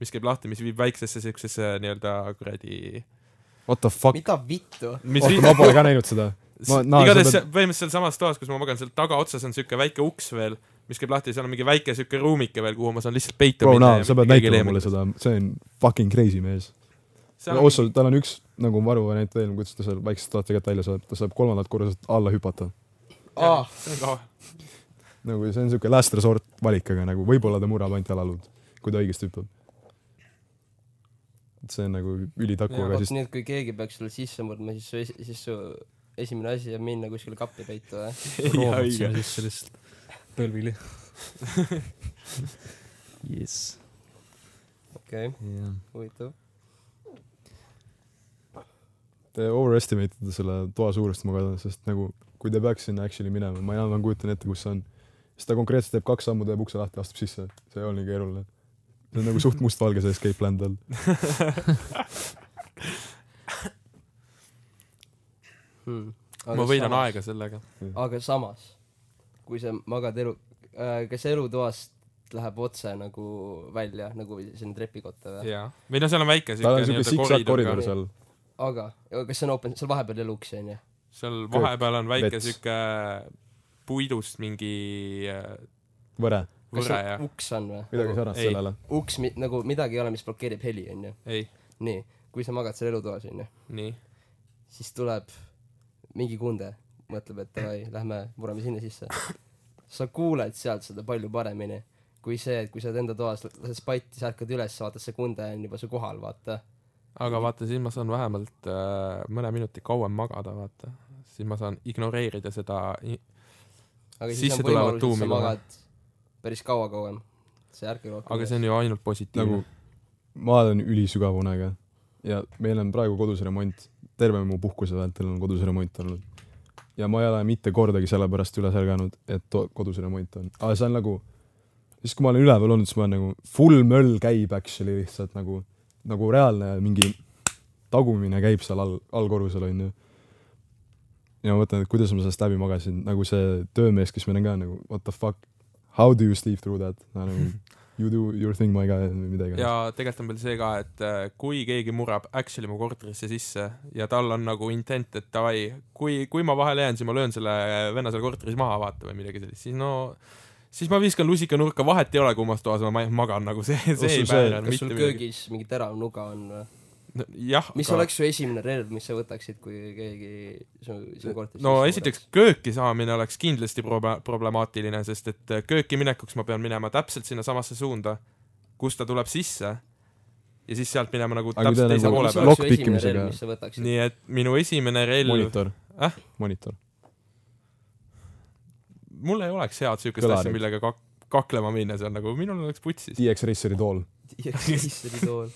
Speaker 3: mis käib lahti , mis viib väiksesse siuksesse äh, nii-öelda kuradi
Speaker 2: What the fuck ?
Speaker 5: mida vittu ?
Speaker 3: mis
Speaker 2: oota ,
Speaker 3: viib
Speaker 2: ma pole ka näinud seda . Ma-
Speaker 3: S-
Speaker 2: naa,
Speaker 3: igatahes
Speaker 2: sa
Speaker 3: see- põhimõtteliselt sealsamas toas , kus ma magan , seal tagaotsas on siuke väike uks veel , mis käib lahti , seal on mingi väike siuke ruumike veel , kuhu ma saan lihtsalt peitu
Speaker 2: Bro ,
Speaker 3: ja
Speaker 2: naa , sa pead
Speaker 3: mitte keegi ei
Speaker 2: näitama
Speaker 3: leia
Speaker 2: mulle seda ,
Speaker 3: mind.
Speaker 2: see on fucking crazy mees .
Speaker 3: seal on
Speaker 2: Ossol , tal on üks nagu varuvariant veel , kuidas ta seal väiksest toast tegelikult välja saab , ta saab kolmandalt korruselt alla hüpata .
Speaker 5: aa ,
Speaker 3: see on kaval .
Speaker 2: nagu see on siuke last resort valik , aga nagu võib-olla ta murrab ainult jalalud , kui ta õigesti hüppab . see on nagu ülitaku ,
Speaker 3: Jaa,
Speaker 2: aga
Speaker 5: vot
Speaker 2: siis
Speaker 5: nüüd , kui keegi peaks sulle sisse murdma , siis su esi- , siis su esimene asi on minna kuskile kappi peitu , jah ?
Speaker 4: roobad sinna sisse lihtsalt tõlvili .
Speaker 6: jess .
Speaker 5: okei okay, , huvitav .
Speaker 2: te overestimate ite äh, selle toa suurust , ma kardan , sest nagu kui ta peaks sinna actually minema , ma enam-vähem kujutan ette , kus see on . siis ta konkreetselt teeb kaks sammu , teeb ukse lahti , astub sisse , see ei ole nii keeruline . see on nagu suht mustvalge see escape plan tal .
Speaker 5: hmm. .
Speaker 3: ma võidan aega sellega .
Speaker 5: aga samas , kui sa magad elu äh, , kas elutoast läheb otse nagu välja , nagu sinna trepikotta või ?
Speaker 3: jaa . või noh , seal on väike
Speaker 2: tal on siuke
Speaker 3: siuke nii-öelda
Speaker 2: siksak
Speaker 3: koridor nagu-
Speaker 2: koridor
Speaker 3: ka .
Speaker 2: seal .
Speaker 5: aga , kas see on open , seal vahepeal ei ole uksi , onju ?
Speaker 3: seal vahepeal on väike
Speaker 2: Vets.
Speaker 3: siuke puidust mingi äh,
Speaker 2: võre ,
Speaker 5: kas
Speaker 3: võre ja
Speaker 5: seal uks on või
Speaker 2: midagi ? sarnast
Speaker 3: Ei.
Speaker 2: sellele .
Speaker 5: uks , nagu midagi ei ole , mis blokeerib heli , onju .
Speaker 3: ei ,
Speaker 5: nii , kui sa magad seal elutoas , onju ,
Speaker 3: nii .
Speaker 5: siis tuleb mingi kunde , mõtleb , et davai , lähme murrame sinna sisse . sa kuuled sealt seda palju paremini kui see , et kui sa oled enda toas , lähed spatti , sa ärkad üles , vaatad , see kunde on juba su kohal , vaata .
Speaker 3: aga vaata , siis ma saan vähemalt äh, mõne minuti kauem magada , vaata . siis ma saan ignoreerida seda i-
Speaker 5: aga siis
Speaker 3: Sisse
Speaker 5: on
Speaker 3: tulevad
Speaker 5: võimalus , et
Speaker 3: tuumi
Speaker 5: sa
Speaker 3: kohe.
Speaker 5: magad päris kaua kauem . see ärkab rohkem .
Speaker 3: aga see on ju ainult positiivne
Speaker 2: nagu . ma olen ülisügava unega ja meil on praegu kodus remont , terve mu puhkuse vältel on kodus remont olnud . ja ma ei ole mitte kordagi selle pärast üles ärganud , et to- kodus remont on , aga see on nagu , siis kui ma olen üleval olnud , siis ma olen nagu full möll käib actually lihtsalt nagu , nagu reaalne mingi tagumine käib seal all , allkorrusel onju . ja ma mõtlen , et kuidas ma sellest läbi magasin , nagu see töömees , kes meil on ka nagu what the fuck , how do you sleep through that , nagu you do your thing my guy või midagi .
Speaker 3: ja tegelikult on veel see ka , et äh, kui keegi murrab actually mu korterisse sisse ja tal on nagu intent , et davai , kui , kui ma vahele jään , siis ma löön selle venna seal korteris maha , vaata või midagi sellist , siis no siis ma viskan lusika nurka , vahet ei ole , kummas toas ma ma- magan , nagu see , see
Speaker 2: sul
Speaker 3: ei
Speaker 2: see-
Speaker 3: pääse
Speaker 5: kas
Speaker 3: mitte
Speaker 5: sul
Speaker 3: midagi .
Speaker 5: köögis mingi terav nuga on või ?
Speaker 3: jah ,
Speaker 5: mis oleks su esimene relv , mis sa võtaksid , kui keegi su , sinu korterisse
Speaker 3: no esiteks kööki saamine oleks kindlasti proba- , problemaatiline , sest et äh, kööki minekuks ma pean minema täpselt sinnasamasse suunda , kust ta tuleb sisse ja siis sealt minema nagu
Speaker 2: Aga kui ta
Speaker 3: täpselt teise
Speaker 2: nagu-
Speaker 3: poole
Speaker 5: mis
Speaker 3: peale .
Speaker 5: oleks su
Speaker 2: Lock
Speaker 5: esimene
Speaker 2: pikkimisega.
Speaker 5: relv , mis sa võtaksid ?
Speaker 3: nii et minu esimene relv
Speaker 2: monitor
Speaker 3: Äh? ,
Speaker 2: monitor .
Speaker 3: mul ei oleks head siukest
Speaker 2: Kõlarid.
Speaker 3: asja , millega kak- , kaklema minna seal nagu , minul oleks putsis .
Speaker 2: DX Raceri tool ,
Speaker 5: issand jumal ,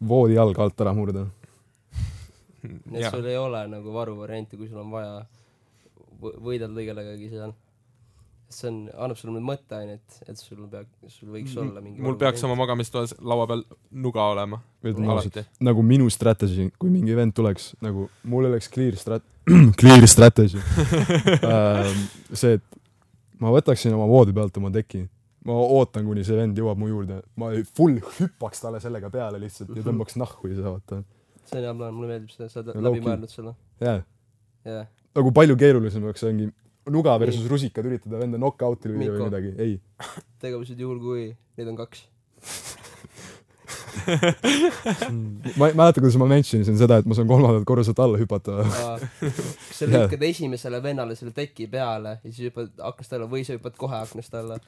Speaker 2: voodi jalg alt ära murda .
Speaker 5: nii et sul ei ole nagu varuvarianti , kui sul on vaja võ- võidelda kellegagi seal . see on , annab sulle nüüd mõtteainet , et sul peab , sul võiks olla mingi
Speaker 3: mul peaks oma magamistoas laua peal nuga olema .
Speaker 2: ütlen ausalt ,
Speaker 3: alati .
Speaker 2: nagu minu strategy , kui mingi vend tuleks , nagu mul oleks clear strat- , clear strategy Ähm, see , et ma võtaksin oma voodi pealt oma teki , ma ootan , kuni see vend jõuab mu juurde , ma full hüppaks talle sellega peale lihtsalt ja tõmbaks nahku ja siis vaata .
Speaker 5: see on hea plaan , mulle meeldib see , sa oled
Speaker 2: Low
Speaker 5: läbi
Speaker 2: key.
Speaker 5: mõelnud selle ,
Speaker 2: jah ,
Speaker 5: jah .
Speaker 2: nagu palju keerulisem oleks ongi nuga versus rusikad üritada venda knock-out'i lüüa või
Speaker 5: Mikko.
Speaker 2: midagi , ei .
Speaker 5: tegevused juhul , kui neid on kaks .
Speaker 4: see on
Speaker 2: ma ei mäleta , kuidas ma mention'isin seda , et ma saan kolmandalt korruselt alla hüpata .
Speaker 5: sa
Speaker 2: Jaa.
Speaker 5: lükkad esimesele vennale selle teki peale ja siis hüppad aknast alla või sa hüppad kohe aknast alla .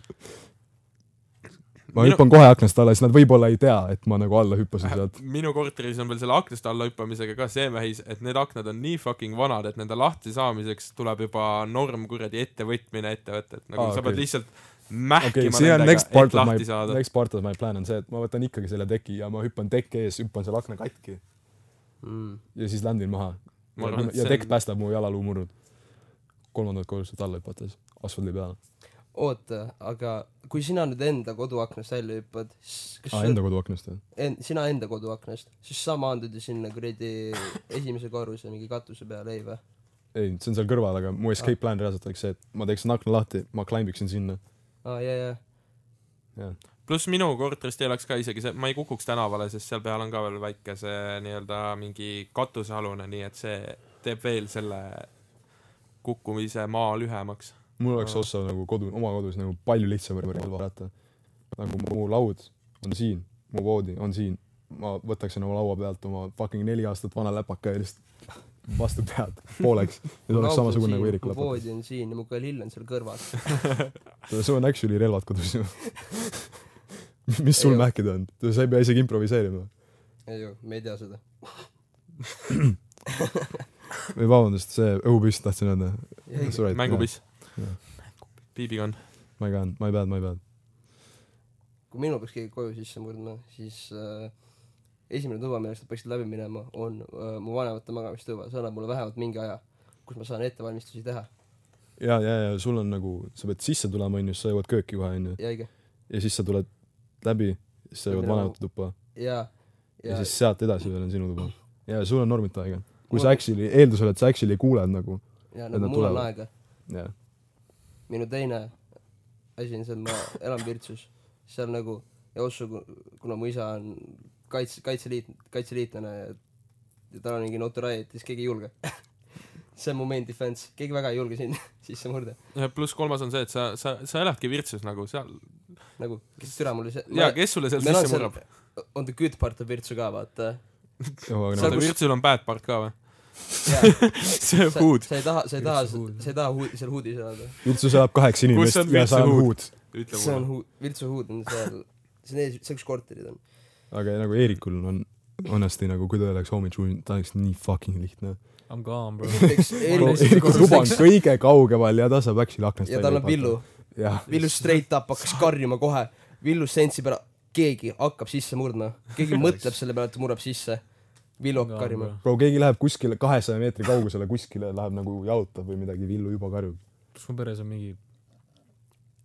Speaker 2: ma hüppan kohe aknast alla , siis nad võib-olla ei tea , et ma nagu alla hüppasin sealt .
Speaker 3: minu korteris on veel selle aknast alla hüppamisega ka see vähis , et need aknad on nii fucking vanad , et nende lahti saamiseks tuleb juba norm kuradi ettevõtmine ette võtta , et nagu
Speaker 2: Aa,
Speaker 3: ah, sa
Speaker 2: okei.
Speaker 3: pead lihtsalt
Speaker 2: okei
Speaker 3: mähkima
Speaker 2: okay, ,
Speaker 3: okay,
Speaker 2: see on
Speaker 3: nendega ,
Speaker 2: next part
Speaker 3: et
Speaker 2: of my
Speaker 3: lahti , saada .
Speaker 2: next part of my plan on see , et ma võtan ikkagi selle teki ja ma hüppan teki ees , hüppan selle akna katki
Speaker 5: Mm.
Speaker 2: ja siis landin maha .
Speaker 3: Ma arvan, et
Speaker 2: ja
Speaker 3: see
Speaker 2: tekk
Speaker 3: on-
Speaker 2: päästab mu jalaluumurrud . kolmandalt korruselt alla hüpates , asfaldi peale .
Speaker 5: oota , aga kui sina nüüd enda koduaknast välja hüppad , siis kas
Speaker 2: aa ,
Speaker 5: sa-
Speaker 2: enda koduaknast või ?
Speaker 5: en, sina enda koduaknast , siis sa maandud ju sinna kuradi nagu esimese korruse mingi katuse peale , ei vä ?
Speaker 2: ei , see on seal kõrval , aga mu escape plan reaalselt oleks see , et ma teeksin akna lahti , ma climb iksin sinna .
Speaker 5: aa , jaa , jaa .
Speaker 2: jah ,
Speaker 3: pluss minu korterist ei oleks ka isegi see , ma ei kukuks tänavale , sest seal peal on ka veel väike see nii-öelda mingi katusealune , nii et see teeb veel selle kukkumise maa lühemaks .
Speaker 2: mul oleks ossa nagu kodu , oma kodus nagu palju lihtsam vaadata . nagu mu laud on siin , mu voodi on siin , ma võtaksin oma laua pealt oma fucking neli aastat vana läpaka ja lihtsalt vastu pead pooleks ja see oleks samasugune nagu Eeriku läpakas .
Speaker 5: voodi on siin ja mu kalill on seal kõrval .
Speaker 2: sul on actually relvad kodus ju . mis sul
Speaker 5: Ei,
Speaker 2: mähkida on ? sa ei pea isegi improviseerima .
Speaker 5: ei ju , me ei tea seda .
Speaker 2: või vabandust , see õhupüst tahtsin öelda . Right,
Speaker 3: mängupiss
Speaker 2: Jah. .
Speaker 3: piibikonn .
Speaker 2: ma ei käinud , ma ei pea , ma ei pea .
Speaker 5: kui minul peaks keegi koju sisse murdma , siis äh, esimene tuba , millest nad peaksid läbi minema , on äh, mu vanemate magamistuba , see annab mulle vähemalt mingi aja , kus ma saan ettevalmistusi teha .
Speaker 2: ja , ja , ja sul on nagu , sa pead sisse tulema , onju , sa jõuad kööki kohe , onju .
Speaker 5: ja õige ,
Speaker 2: ja siis sa tuled läbi , siis sa jõuad
Speaker 5: Läbi
Speaker 2: vanemate tuppa
Speaker 5: ja ,
Speaker 2: ja
Speaker 5: ja
Speaker 2: siis sealt edasi veel on sinu tuba . ja sul on normid aega . kui
Speaker 5: Mul-
Speaker 2: sa actually , eeldusel , et sa actually kuuled nagu ,
Speaker 5: ja
Speaker 2: nad
Speaker 5: nagu mul on
Speaker 2: tulevad.
Speaker 5: aega .
Speaker 2: jah .
Speaker 5: minu teine asi on see , et ma elan Virtsus , seal nagu ja Ossu , kuna mu isa on kaitse , kaitseliit , kaitseliitlane ja, ja tal on mingi notoriaat , siis keegi ei julge . see on mu main defense , keegi väga ei julge sinna sisse murda ,
Speaker 3: pluss kolmas on see , et sa , sa , sa eladki Virtsus nagu seal
Speaker 5: nagu kes türa mulle see
Speaker 3: ja kes sulle seal
Speaker 5: meil on
Speaker 3: sisse
Speaker 5: seal
Speaker 3: murrab ?,
Speaker 5: on ta good part of Virtsu ka vaata .
Speaker 2: nagu
Speaker 3: oota ,
Speaker 5: kus-
Speaker 3: Virtsul on bad part ka või ? see
Speaker 5: sa
Speaker 3: food ,
Speaker 5: sa ei taha , sa ei taha ,
Speaker 4: Virtsu hood.
Speaker 5: sa ei taha huud, seal huudis elada .
Speaker 2: Virtsus elab kaheksa
Speaker 3: Kus on
Speaker 2: inimest ja
Speaker 3: Virtsu
Speaker 2: sa oled
Speaker 3: huud?
Speaker 2: huud .
Speaker 3: ütle
Speaker 5: see on
Speaker 3: mulle .
Speaker 5: huud , Virtsu huud on seal , see on ees , see üks korterid on .
Speaker 2: aga nagu Eerikul on honestly nagu , kui ta oleks homitšuun , ta oleks nii fucking lihtne .
Speaker 4: I m gone bro
Speaker 5: näiteks eelmises
Speaker 2: Eeriku tuba on
Speaker 5: korteris
Speaker 2: kõige kaugemal ja ta saab actually aknast
Speaker 5: ja tal on villu ,.
Speaker 2: jah ,
Speaker 5: villu straight up hakkas karjuma kohe , villu sentsib ära , keegi hakkab sisse murdma , keegi mõtleb selle peale , et ta murrab sisse . villu hakkab karjuma .
Speaker 2: bro , keegi läheb kuskile kahesaja meetri kaugusele kuskile , läheb nagu jalutab või midagi , villu juba karjub .
Speaker 4: kus mu peres on mingi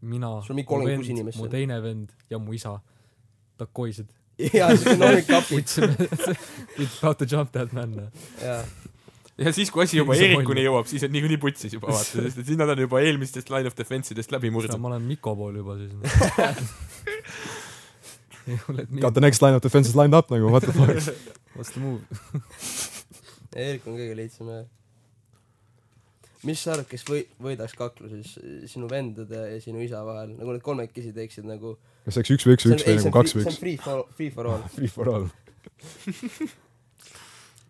Speaker 4: mina ,
Speaker 5: Sul on mingi
Speaker 4: mu
Speaker 5: kolmkümmend kuus
Speaker 4: vend ,
Speaker 5: inimest
Speaker 4: mu
Speaker 5: seal.
Speaker 4: teine vend ja mu isa . takoisid .
Speaker 5: jaa , siuke noored kapid ,
Speaker 4: It's about to jump that man .
Speaker 5: jaa .
Speaker 3: ja siis , kui asi juba
Speaker 4: See on
Speaker 3: Eerikuni
Speaker 4: loll.
Speaker 3: jõuab , siis on niikuinii putsis juba vaata , sest et siis nad on juba eelmistest line of defense idest läbi murdnud .
Speaker 4: ma olen Miko pool juba siis . ei ole , et
Speaker 2: Got
Speaker 4: nii ,
Speaker 2: the next line of defenses lined up nagu what the fuck .
Speaker 4: what's the move ?
Speaker 5: Eerik on kõige lihtsam jah . mis sa arvad , kes või- , võidaks kakluses sinu vendade ja sinu isa vahel , nagu need kolmekesi teeksid nagu
Speaker 2: kas see oleks üks või üks
Speaker 5: see
Speaker 2: või
Speaker 5: on-
Speaker 2: üks
Speaker 5: ei,
Speaker 2: või
Speaker 5: see on
Speaker 2: nagu kaks
Speaker 5: free-
Speaker 2: või
Speaker 5: see
Speaker 2: üks
Speaker 5: on ? free for , free for all
Speaker 2: Free for all .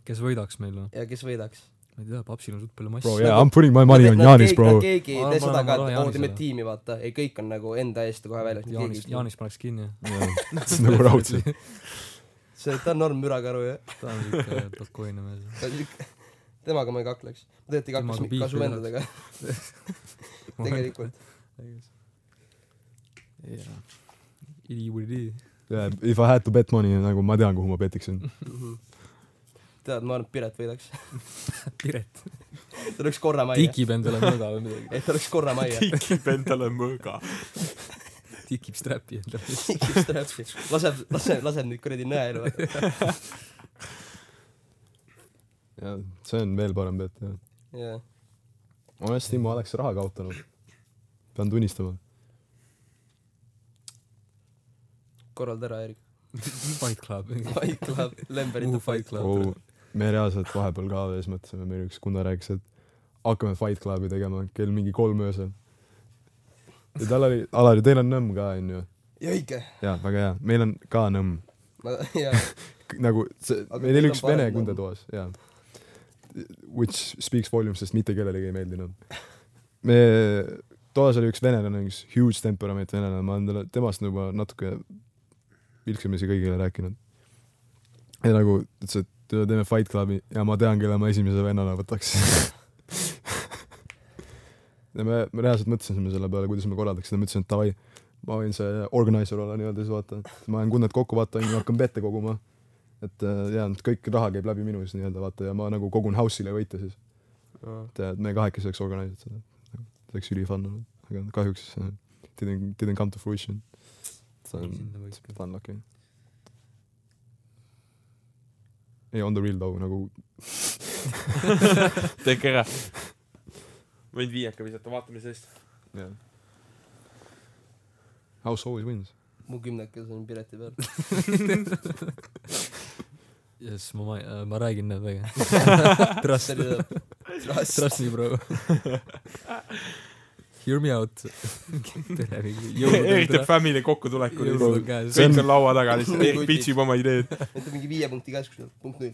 Speaker 4: kes võidaks meil või ?
Speaker 5: ja kes võidaks .
Speaker 4: ma ei tea , papsil on suht palju massi .
Speaker 2: Bro ,
Speaker 5: nagu
Speaker 2: yeah , I m putting my money on Jaanis , bro .
Speaker 5: keegi ei
Speaker 4: Ma
Speaker 5: tee
Speaker 4: arvan,
Speaker 5: seda
Speaker 4: ma
Speaker 5: ka ,
Speaker 4: arvan
Speaker 5: et oo ,
Speaker 4: Jaanisele.
Speaker 5: teeme tiimi , vaata , ei kõik on nagu enda eest kohe väljas ,
Speaker 4: Jaanis ,
Speaker 5: keegi
Speaker 4: Jaanis paneks kinni .
Speaker 2: see on nagu raudselt .
Speaker 5: see , ta on norm mürakaru jah ,
Speaker 4: ta on siuke takoine äh, mees .
Speaker 5: temaga ma ei kakleks . ma tegelikult ei
Speaker 4: Temaga beefi
Speaker 5: kakleks ka su
Speaker 4: ei
Speaker 5: vendadega , tegelikult .
Speaker 4: jah . Idiudi .
Speaker 2: Yeah, if I had to bet money , nagu ma tean , kuhu ma petiksin .
Speaker 5: Mm. tead , ma arvan , et Piret võidaks .
Speaker 4: Piret .
Speaker 5: ta oleks korra majja .
Speaker 4: tikib endale mõõga või midagi .
Speaker 5: et ta oleks korra majja .
Speaker 3: tikib endale mõõga .
Speaker 4: tikib strap'i endale .
Speaker 5: laseb , laseb , laseb nüüd kuradi nõelu .
Speaker 2: jah , see on veel parem bet , jah .
Speaker 5: jah ,
Speaker 2: honestly , ma oleks raha kaotanud . pean tunnistama .
Speaker 5: korralda ära , Erik .
Speaker 4: Fight Club .
Speaker 5: Fight Club , Lemberite
Speaker 4: Uhu
Speaker 5: Fight
Speaker 4: Fight
Speaker 5: Club .
Speaker 4: Club
Speaker 2: oh, . me reaalselt vahepeal ka öös mõtlesime , meil üks kunda rääkis , et hakkame Fight Clubi tegema kell mingi kolm öösel . ja tal oli , Alari , teil on nõmm ka , onju ?
Speaker 5: ja õige .
Speaker 2: jaa , väga hea , meil on ka nõmm .
Speaker 5: ma , jaa ,
Speaker 2: nagu see ,
Speaker 5: Aga
Speaker 2: meil
Speaker 5: teil
Speaker 2: oli
Speaker 5: on
Speaker 2: üks
Speaker 5: parem
Speaker 2: vene
Speaker 5: nagu.
Speaker 2: kunde toas , jaa . Which speaks volumes , sest mitte kellelegi ei meeldinud . me , toas oli üks venelane , üks huge temperament venelane , ma olen talle , temast on juba natuke vilksamisi kõigile rääkinud . ja nagu ütles , et "Tule teeme Fight Clubi ja ma tean , kelle ma esimese vennana võtaks . ja me , me reaalselt mõtlesime selle peale , kuidas me korraldaks seda , ma ütlesin , et davai , ma võin see organizer olla nii-öelda siis vaata , et ma olen kunded kokku vaata , hakkan pette koguma . et äh, ja et kõik raha käib läbi minu siis nii-öelda vaata ja ma nagu kogun house'ile võite siis , et äh, me kahekesi oleks organiseerinud seda . Nagu, see oleks üli fun olnud , noh. aga kahjuks äh, didn't , didn't come to fruition . see
Speaker 5: Mm.
Speaker 2: on
Speaker 4: Sinna võiks
Speaker 2: it's a bit unlucky . ei , on the real though nagu
Speaker 3: tehke ära . võin viieka visata , vaatame sellest .
Speaker 2: yeah. . House always wins .
Speaker 5: mu kümnekas on pileti peal .
Speaker 4: jess , ma ,
Speaker 5: øh,
Speaker 4: ma , ma räägin nendega .
Speaker 5: Trust . Trust .
Speaker 4: Trust me , bro . Hear me out .
Speaker 3: Erik teeb family kokkutulekul .
Speaker 4: jõulud on käes .
Speaker 3: kõik on laua taga lihtsalt , Erik
Speaker 5: Kutid.
Speaker 3: pitsib oma ideed .
Speaker 5: ütle mingi viie punkti käskus , punkt null ,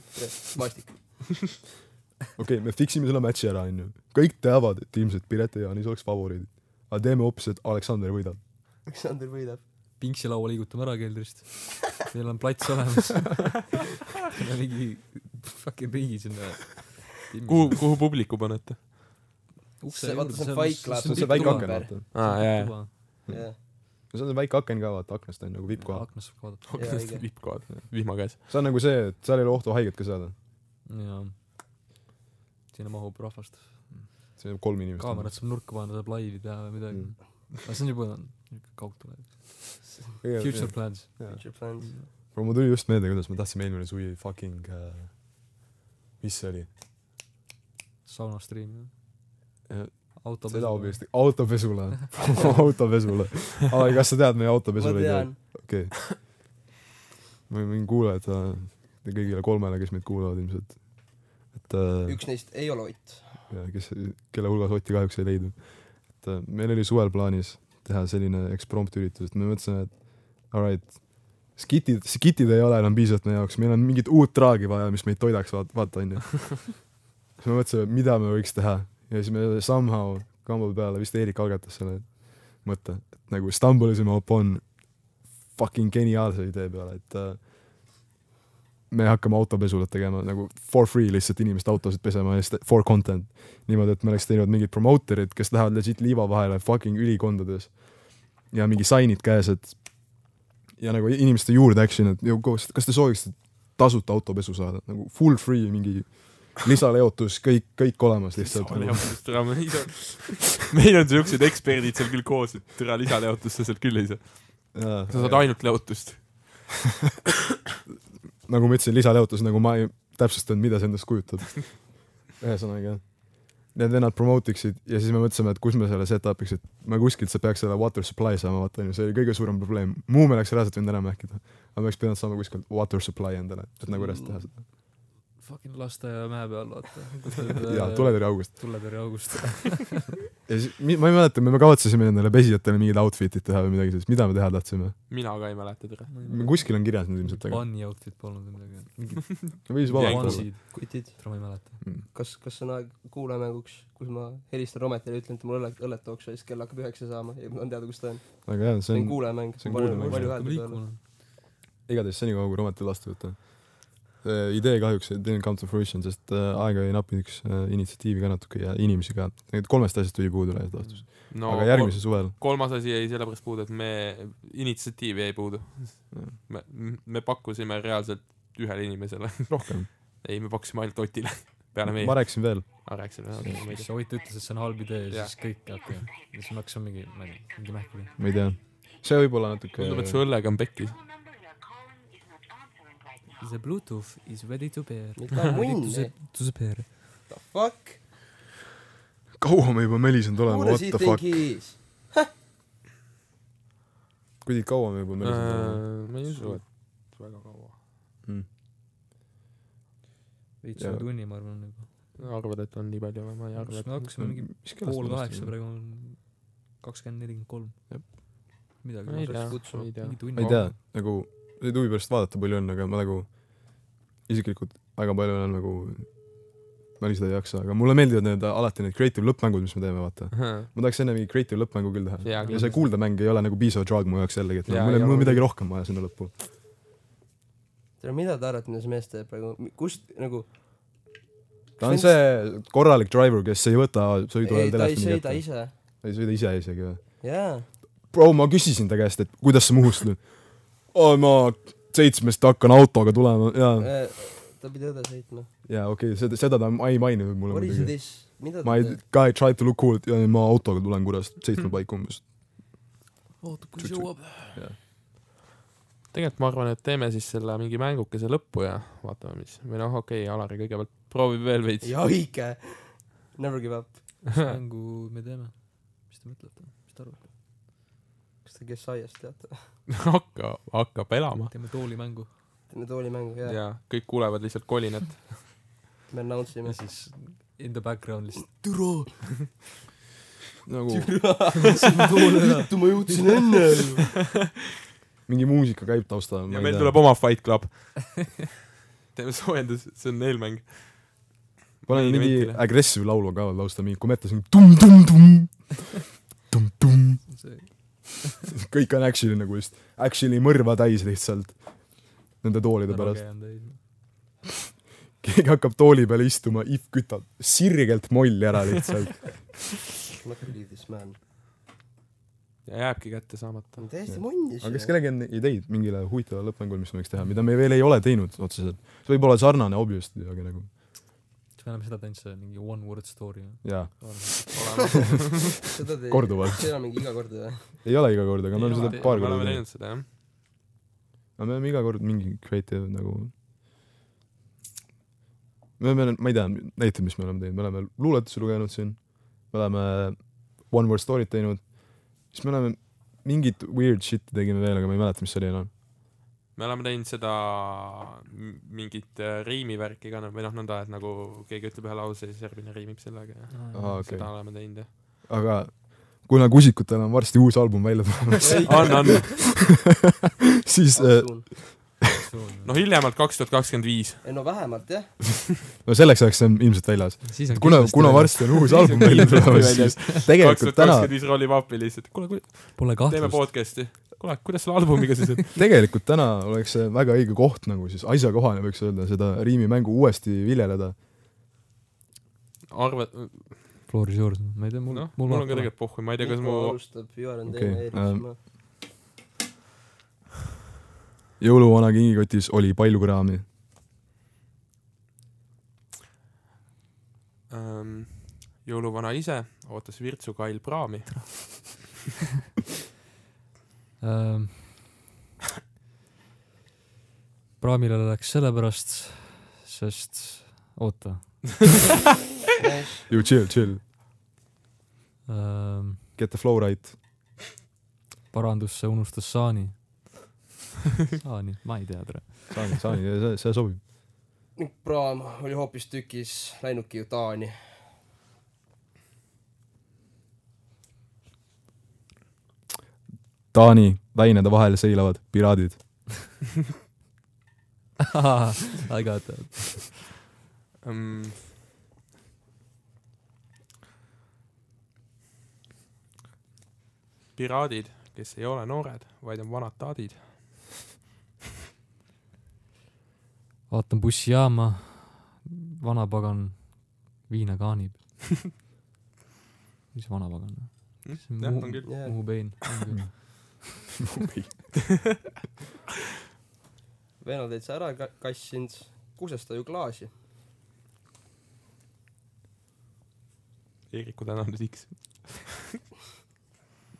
Speaker 5: maastik .
Speaker 2: okei okay, , me fix ime selle match'i ära , onju . kõik teavad , et ilmselt Piret ja Jaanis oleks favoriidid . aga teeme hoopis , et Aleksander võidab .
Speaker 5: Aleksander võidab .
Speaker 4: pingsilaua liigutame ära keldrist . meil on plats olemas . mingi fucking riigi sinna .
Speaker 3: kuhu , kuhu publiku panete ?
Speaker 5: See- vaata, see on Fight Club.
Speaker 2: see on see
Speaker 5: Pikk
Speaker 2: väike
Speaker 5: tuba.
Speaker 2: aken , vaata .
Speaker 3: aa , jaa ,
Speaker 5: jah ,
Speaker 2: see on see väike aken ka , vaata , aknast on nagu vippkoha .
Speaker 4: aknast saab vaadata .
Speaker 5: jaa ,
Speaker 3: jaa .
Speaker 5: õige .
Speaker 3: vippkohad , vihma käes .
Speaker 2: see on nagu see , et seal ei ole ohtu haiget ka saada .
Speaker 4: jaa . sinna mahub rahvast .
Speaker 2: siin on kolm inimest .
Speaker 4: kaamerad saab nurka panna , saab laivi teha või midagi .
Speaker 2: Mm.
Speaker 4: aga see on juba niuke kaugtulevik . Future
Speaker 2: saab .
Speaker 4: plans .
Speaker 5: Future plans .
Speaker 2: aga mul tuli just meelde , kuidas me tahtsime eelmine suvi fucking äh, , mis see oli ?
Speaker 4: sauna stream .
Speaker 2: Jah.
Speaker 4: auto .
Speaker 2: seda obviously , autopesule . autopesule . aa , kas sa tead meie
Speaker 5: ma
Speaker 2: autopesule ?
Speaker 5: tean ,
Speaker 2: okei okay. . ma võin kuulajad , kõigile kolmele , kes meid kuulavad ilmselt , et äh,
Speaker 5: üks neist ei ole Ott .
Speaker 2: ja kes , kelle hulgas Otti kahjuks ei leidu . et äh, meil oli suvel plaanis teha selline eksprompt üritus , et me mõtlesime , et alright , skitid , skitid ei ole enam piisavalt meie jaoks , meil on mingit uut traagi vaja , mis meid toidaks , vaata , vaata onju . siis me mõtlesime , mida me võiks teha ja siis me somehow kamba peale , vist Eerik algatas selle mõtte , et nagu stambulisime upon fucking geniaalse idee peale , et äh, me hakkame autopesulat tegema nagu for free lihtsalt inimeste autosid pesema ja st- for content . niimoodi , et me oleks teinud mingid promoterid , kes lähevad legit liiva vahele fucking ülikondades ja mingi sign'id käes , et ja nagu inimeste juurde action , et ju kas kas te sooviksite tasuta autopesu saada , nagu full free mingi lisaleotus , kõik , kõik olemas lihtsalt .
Speaker 3: meil on siuksed eksperdid seal küll koos , et türa lisaleotust sa sealt küll ei saa . sa saad ainult leotust .
Speaker 2: nagu ma ütlesin , lisaleotus , nagu ma ei täpsustanud , mida see endast kujutab . ühesõnaga , need vennad promote iksid ja siis me mõtlesime , et kus me selle set-up'iks , et me kuskilt sa peaks selle water supply saama , vaata onju , see oli kõige suurem probleem . muu me oleks reaalselt võinud ära mähkida . aga me oleks pidanud saama kuskilt water supply endale , et nagu üles teha seda .
Speaker 4: fucking lasteaia mäe peal ,
Speaker 2: jaa ,
Speaker 4: vaata .
Speaker 2: tuletõrje august .
Speaker 4: tuletõrje august .
Speaker 2: ja siis , ma ei mäleta , me kavatsesime nendele pesijatele mingid outfit'id teha või midagi sellist , mida me teha tahtsime ?
Speaker 3: mina ka ei mäleta , türa .
Speaker 2: kuskil on kirjas nüüd ilmselt , aga .
Speaker 4: Bunny outfit polnud või midagi . mingid
Speaker 2: või siis vabalt .
Speaker 4: onsid ,
Speaker 5: kutid ,
Speaker 4: tore , ma ei mäleta .
Speaker 5: kas , kas on aeg kuulajamänguks , kus ma helistan Rometile ja ütlen , et mul õlle , õllet tooks ja siis kell hakkab üheksa saama ja mul on teada , kus ta on .
Speaker 2: aga jah ,
Speaker 5: see
Speaker 2: see
Speaker 5: on
Speaker 2: on ,
Speaker 5: kuulajamäng .
Speaker 2: see on kuulajamäng.
Speaker 5: palju häält
Speaker 4: hakkame
Speaker 5: peale .
Speaker 4: liikuma .
Speaker 2: igatahes senikaua , kui Romet ei lasta võtta . idee kahjuks ei teinud come to fruition , sest äh, aega jäi nappinuks äh, initsiatiivi ka natuke ja inimesi ka . Need kolmest asjast tuli puudu laias laastus .
Speaker 3: no
Speaker 2: aga järgmisel suvel ,
Speaker 3: kolmas asi jäi sellepärast puudu , et me , initsiatiivi jäi puudu . me , me pakkusime reaalselt ühele inimesele .
Speaker 2: rohkem .
Speaker 3: ei , me pakkusime ainult Otile . peale meie .
Speaker 2: ma rääkisin veel ,
Speaker 3: aa , rääkisin ära , okei , ma ei
Speaker 4: siis
Speaker 3: tea .
Speaker 4: Ott ütles , et see on halb idee ja
Speaker 3: Jah.
Speaker 4: siis kõik , okei . ja siis me hakkasime mingi , ma ei tea , mingi mähku tegema .
Speaker 2: ma ei tea . see võib-olla natuke
Speaker 3: tundub , et su õllega on pekkis .
Speaker 4: The Bluetooth is ready to pair .
Speaker 5: mida munni ,
Speaker 4: To the pair .
Speaker 5: the fuck ?
Speaker 2: kaua me juba melisenud oleme ,
Speaker 5: Who
Speaker 2: what
Speaker 5: does he
Speaker 2: the
Speaker 5: think
Speaker 2: fuck .
Speaker 5: he is ?
Speaker 2: kuidagi kaua me juba melisenud oleme .
Speaker 3: ma ei usu , et väga kaua .
Speaker 4: veits
Speaker 2: Jaa.
Speaker 4: üle tunni , ma arvan juba .
Speaker 3: arvad , et on nii palju või ma ei arva ,
Speaker 4: kas
Speaker 3: et
Speaker 4: me hakkasime mingi pool kaheksa , praegu on kakskümmend , nelikümmend kolm
Speaker 2: Jep. .
Speaker 4: midagi
Speaker 3: ma ei
Speaker 4: sellist .
Speaker 3: tea
Speaker 5: kutsu. ,
Speaker 3: ei tea .
Speaker 4: mingi tund .
Speaker 2: ma ei tea , nagu said huvi pärast vaadata palju on , aga ma nagu isiklikult väga palju olen nagu , ma lihtsalt ei jaksa , aga mulle meeldivad need alati need creative lõppmängud , mis me teeme , vaata . ma tahaks enne mingi creative lõppmängu küll teha .
Speaker 3: Jaa,
Speaker 2: ja, ja
Speaker 3: kindlasti.
Speaker 2: see kuuldemäng ei ole nagu piisav drag mu jaoks jällegi , et
Speaker 3: Jaa,
Speaker 2: ja, mul
Speaker 3: jaa,
Speaker 2: on , mul
Speaker 3: ma-
Speaker 2: on midagi rohkem vaja sinna lõppu .
Speaker 5: tere , mida te arvate , mida see mees teeb praegu , kust nagu
Speaker 2: ta on see korralik driver , kes ei võta sõidu
Speaker 5: ei
Speaker 2: ajal ,
Speaker 5: ta ei
Speaker 2: telefoni
Speaker 5: sõida
Speaker 2: kätte .
Speaker 5: ise .
Speaker 2: ei sõida ise isegi või ?
Speaker 5: jaa .
Speaker 2: bro , ma küsisin ta käest , et kuidas sa Muhust nüüd ? aa , ma seitsmest hakkan autoga tulema ja ,
Speaker 5: Äh, ta pidi õde sõitma .
Speaker 2: ja okei okay, , seda , seda ta ma ei maininud mulle
Speaker 5: What is
Speaker 2: muidugi .
Speaker 5: this ? mida
Speaker 2: ma
Speaker 5: ta
Speaker 2: ei
Speaker 5: teeb ?,
Speaker 2: ka ei try to look cool , et ja, ma autoga tulen kurast seitsme paiku umbes .
Speaker 4: ootab ,
Speaker 2: Tšu-
Speaker 4: kui
Speaker 2: tšu-
Speaker 4: jõuab .
Speaker 3: tegelikult ma arvan , et teeme siis selle mingi mängukese lõppu ja vaatame , mis või noh , okei okay, , Alari kõigepealt proovib veel veits .
Speaker 5: jaa , õige . Never give up .
Speaker 4: mis mängu me teeme ? mis te mõtlete , mis te arvate ?
Speaker 5: kas te kes aiast teate ?
Speaker 3: hakka , hakkab elama .
Speaker 4: teeme toolimängu
Speaker 5: teeme toolimängu , jaa .
Speaker 3: ja kõik kuulevad lihtsalt kolinat .
Speaker 5: me announce ime
Speaker 4: ja . siis in the background lihtsalt .
Speaker 5: türa ,
Speaker 2: nagu
Speaker 5: vittu ma jõudsin enne .
Speaker 2: mingi muusika käib taustal .
Speaker 3: ja meil tuleb oma Fight Club . teeme soojendus , see on eelmäng .
Speaker 2: panen
Speaker 3: mingi
Speaker 2: mingi
Speaker 3: ventile.
Speaker 2: agressiivne laulu ka veel lausta , mingi kometa siin tum-tum-tum , tum-tum ,
Speaker 4: see
Speaker 2: kõik on action'i nagu just , action'i mõrva täis lihtsalt nende toolide pärast . keegi hakkab tooli peale istuma , if kütab sirgelt molli ära lihtsalt .
Speaker 5: ma ei believe this man .
Speaker 3: ja jääbki kätte saamata
Speaker 5: ta on . täiesti mundis .
Speaker 2: aga kas kellelgi on ideid mingile huvitavale lõppmängule , mis me võiks teha , mida me veel ei ole teinud otseselt ? see võib olla sarnane obviously , aga nagu
Speaker 4: siis me oleme seda teinud , see mingi one word story .
Speaker 2: jaa ,
Speaker 5: seda te
Speaker 2: Korduvalt.
Speaker 5: see ei ole mingi iga kord või ?
Speaker 2: ei ole iga kord , aga me oleme seda paar
Speaker 3: me
Speaker 2: korda
Speaker 3: oleme
Speaker 2: teinud .
Speaker 3: teinud seda jah .
Speaker 2: aga me oleme iga kord mingi creative nagu me oleme , ma ei tea , näita , mis me oleme teinud , me oleme luuletusi lugenud siin , me oleme One Word Story'd teinud , siis me oleme mingit weird shit'i tegime veel , aga ma ei mäleta , mis see oli enam .
Speaker 3: me oleme teinud seda m- mingit äh, riimivärki ka noh, või noh , nõnda , et nagu keegi ütleb ühe lause ja siis järgmine riimib sellega ja
Speaker 2: aa , okei
Speaker 3: seda
Speaker 2: okay. ,
Speaker 3: oleme teinud jah .
Speaker 2: aga kuna Kusikutel on varsti uus album välja tulemas ,
Speaker 3: on , on .
Speaker 2: siis äh,
Speaker 3: no hiljemalt kaks tuhat kakskümmend viis .
Speaker 5: ei no vähemalt jah .
Speaker 2: no selleks ajaks see on ilmselt väljas .
Speaker 4: siis on
Speaker 2: kuna ,
Speaker 4: kindlasti
Speaker 2: kuna
Speaker 4: veel-
Speaker 2: varsti on uus album välja tulemas , siis
Speaker 3: kaks
Speaker 2: tegelikult
Speaker 3: tuhat
Speaker 2: täna ,
Speaker 3: kakskümmend viis rollib appi lihtsalt . kuule , kuule ,
Speaker 4: Pole
Speaker 3: teeme
Speaker 4: kahtlust .
Speaker 3: podcast'i . kuule , kuidas selle albumiga siis on ?
Speaker 2: tegelikult täna oleks see väga õige koht nagu siis asjakohane , võiks öelda , seda riimimängu uuesti viljeleda .
Speaker 3: arva ,
Speaker 4: Floor is yours , ma ei tea , mul
Speaker 3: noh , mul on ka . tegelikult pohhu , ma ei tea , kas mu
Speaker 5: alustab , Ivar on teine ,
Speaker 2: Okei, ähm,
Speaker 5: Eerik siis ma .
Speaker 2: jõuluvana kingikotis oli palju kraami .
Speaker 3: ähm, jõuluvana ise ootas Virtsu kail praami .
Speaker 4: Ehm, praamile läks sellepärast , sest oota .
Speaker 5: Nice.
Speaker 2: You chill , chill . Get the flow right .
Speaker 4: ehm, parandusse unustas saani . saani , ma ei tea , tere .
Speaker 2: saan , saan , see , see sobib .
Speaker 5: ning praam oli hoopistükkis läinudki ju Taani .
Speaker 2: Taani väinade vahel seilavad piraadid .
Speaker 4: I got that .
Speaker 3: Um, piraadid , kes ei ole noored , vaid on vanad taadid .
Speaker 4: vaatan bussijaama , vanapagan viina kaanib . mis vanapagan ?
Speaker 3: jah , on küll .
Speaker 5: jah ,
Speaker 4: Muhu pein .
Speaker 5: venad olid sa ära ka- kassinud , kusesta ju klaasi .
Speaker 3: Eeriku tänav nüüd X .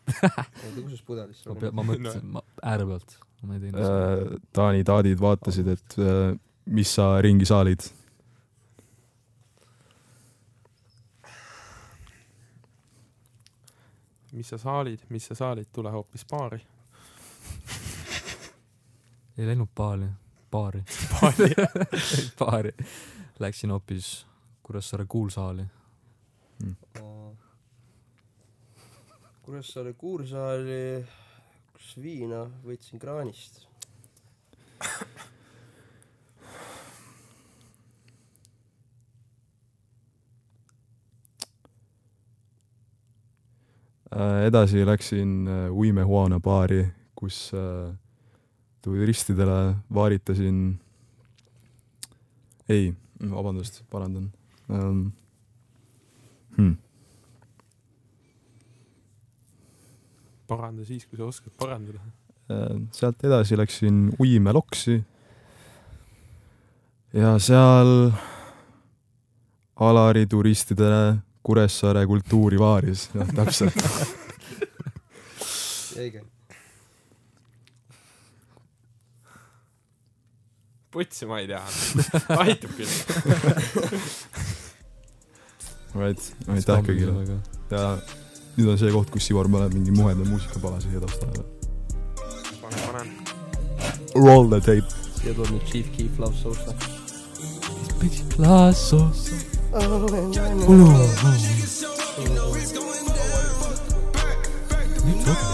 Speaker 5: oota , kus see pudelis
Speaker 4: ma
Speaker 5: seal
Speaker 4: pea-
Speaker 5: oli ?
Speaker 4: ma mõtlesin , ma äärepealt , ma ei teinud .
Speaker 2: Äh. Taani taadid vaatasid , et äh, mis sa ringi saalid .
Speaker 3: mis sa saalid , mis sa saalid , tule hoopis baari .
Speaker 4: ei läinud paali , baari ,
Speaker 3: baari .
Speaker 4: baari . Läksin hoopis Kuressaare kuulsaali .
Speaker 5: Kuressaare kuursaali , kus viina võtsin kraanist .
Speaker 2: Äh, edasi läksin äh, Uime Juana baari , kus äh, turistidele vaaritasin , ei , vabandust , parandan ähm. . Hmm.
Speaker 3: paranda siis , kui sa oskad parandada .
Speaker 2: Äh, sealt edasi läksin Uime loksi . ja seal Alari turistidele Kuressaare kultuurivaaris , noh täpselt .
Speaker 5: õige .
Speaker 3: putsi ma ei tea . aitab küll .
Speaker 2: right , aitäh kõigile . ja nüüd on see koht , kus Ivar paneb mingi muheda muusikapala siia taustale .
Speaker 3: panen .
Speaker 2: Roll the tape .
Speaker 5: siia tuleb nüüd Chief Keef noh. Love Sosa .
Speaker 4: nüüd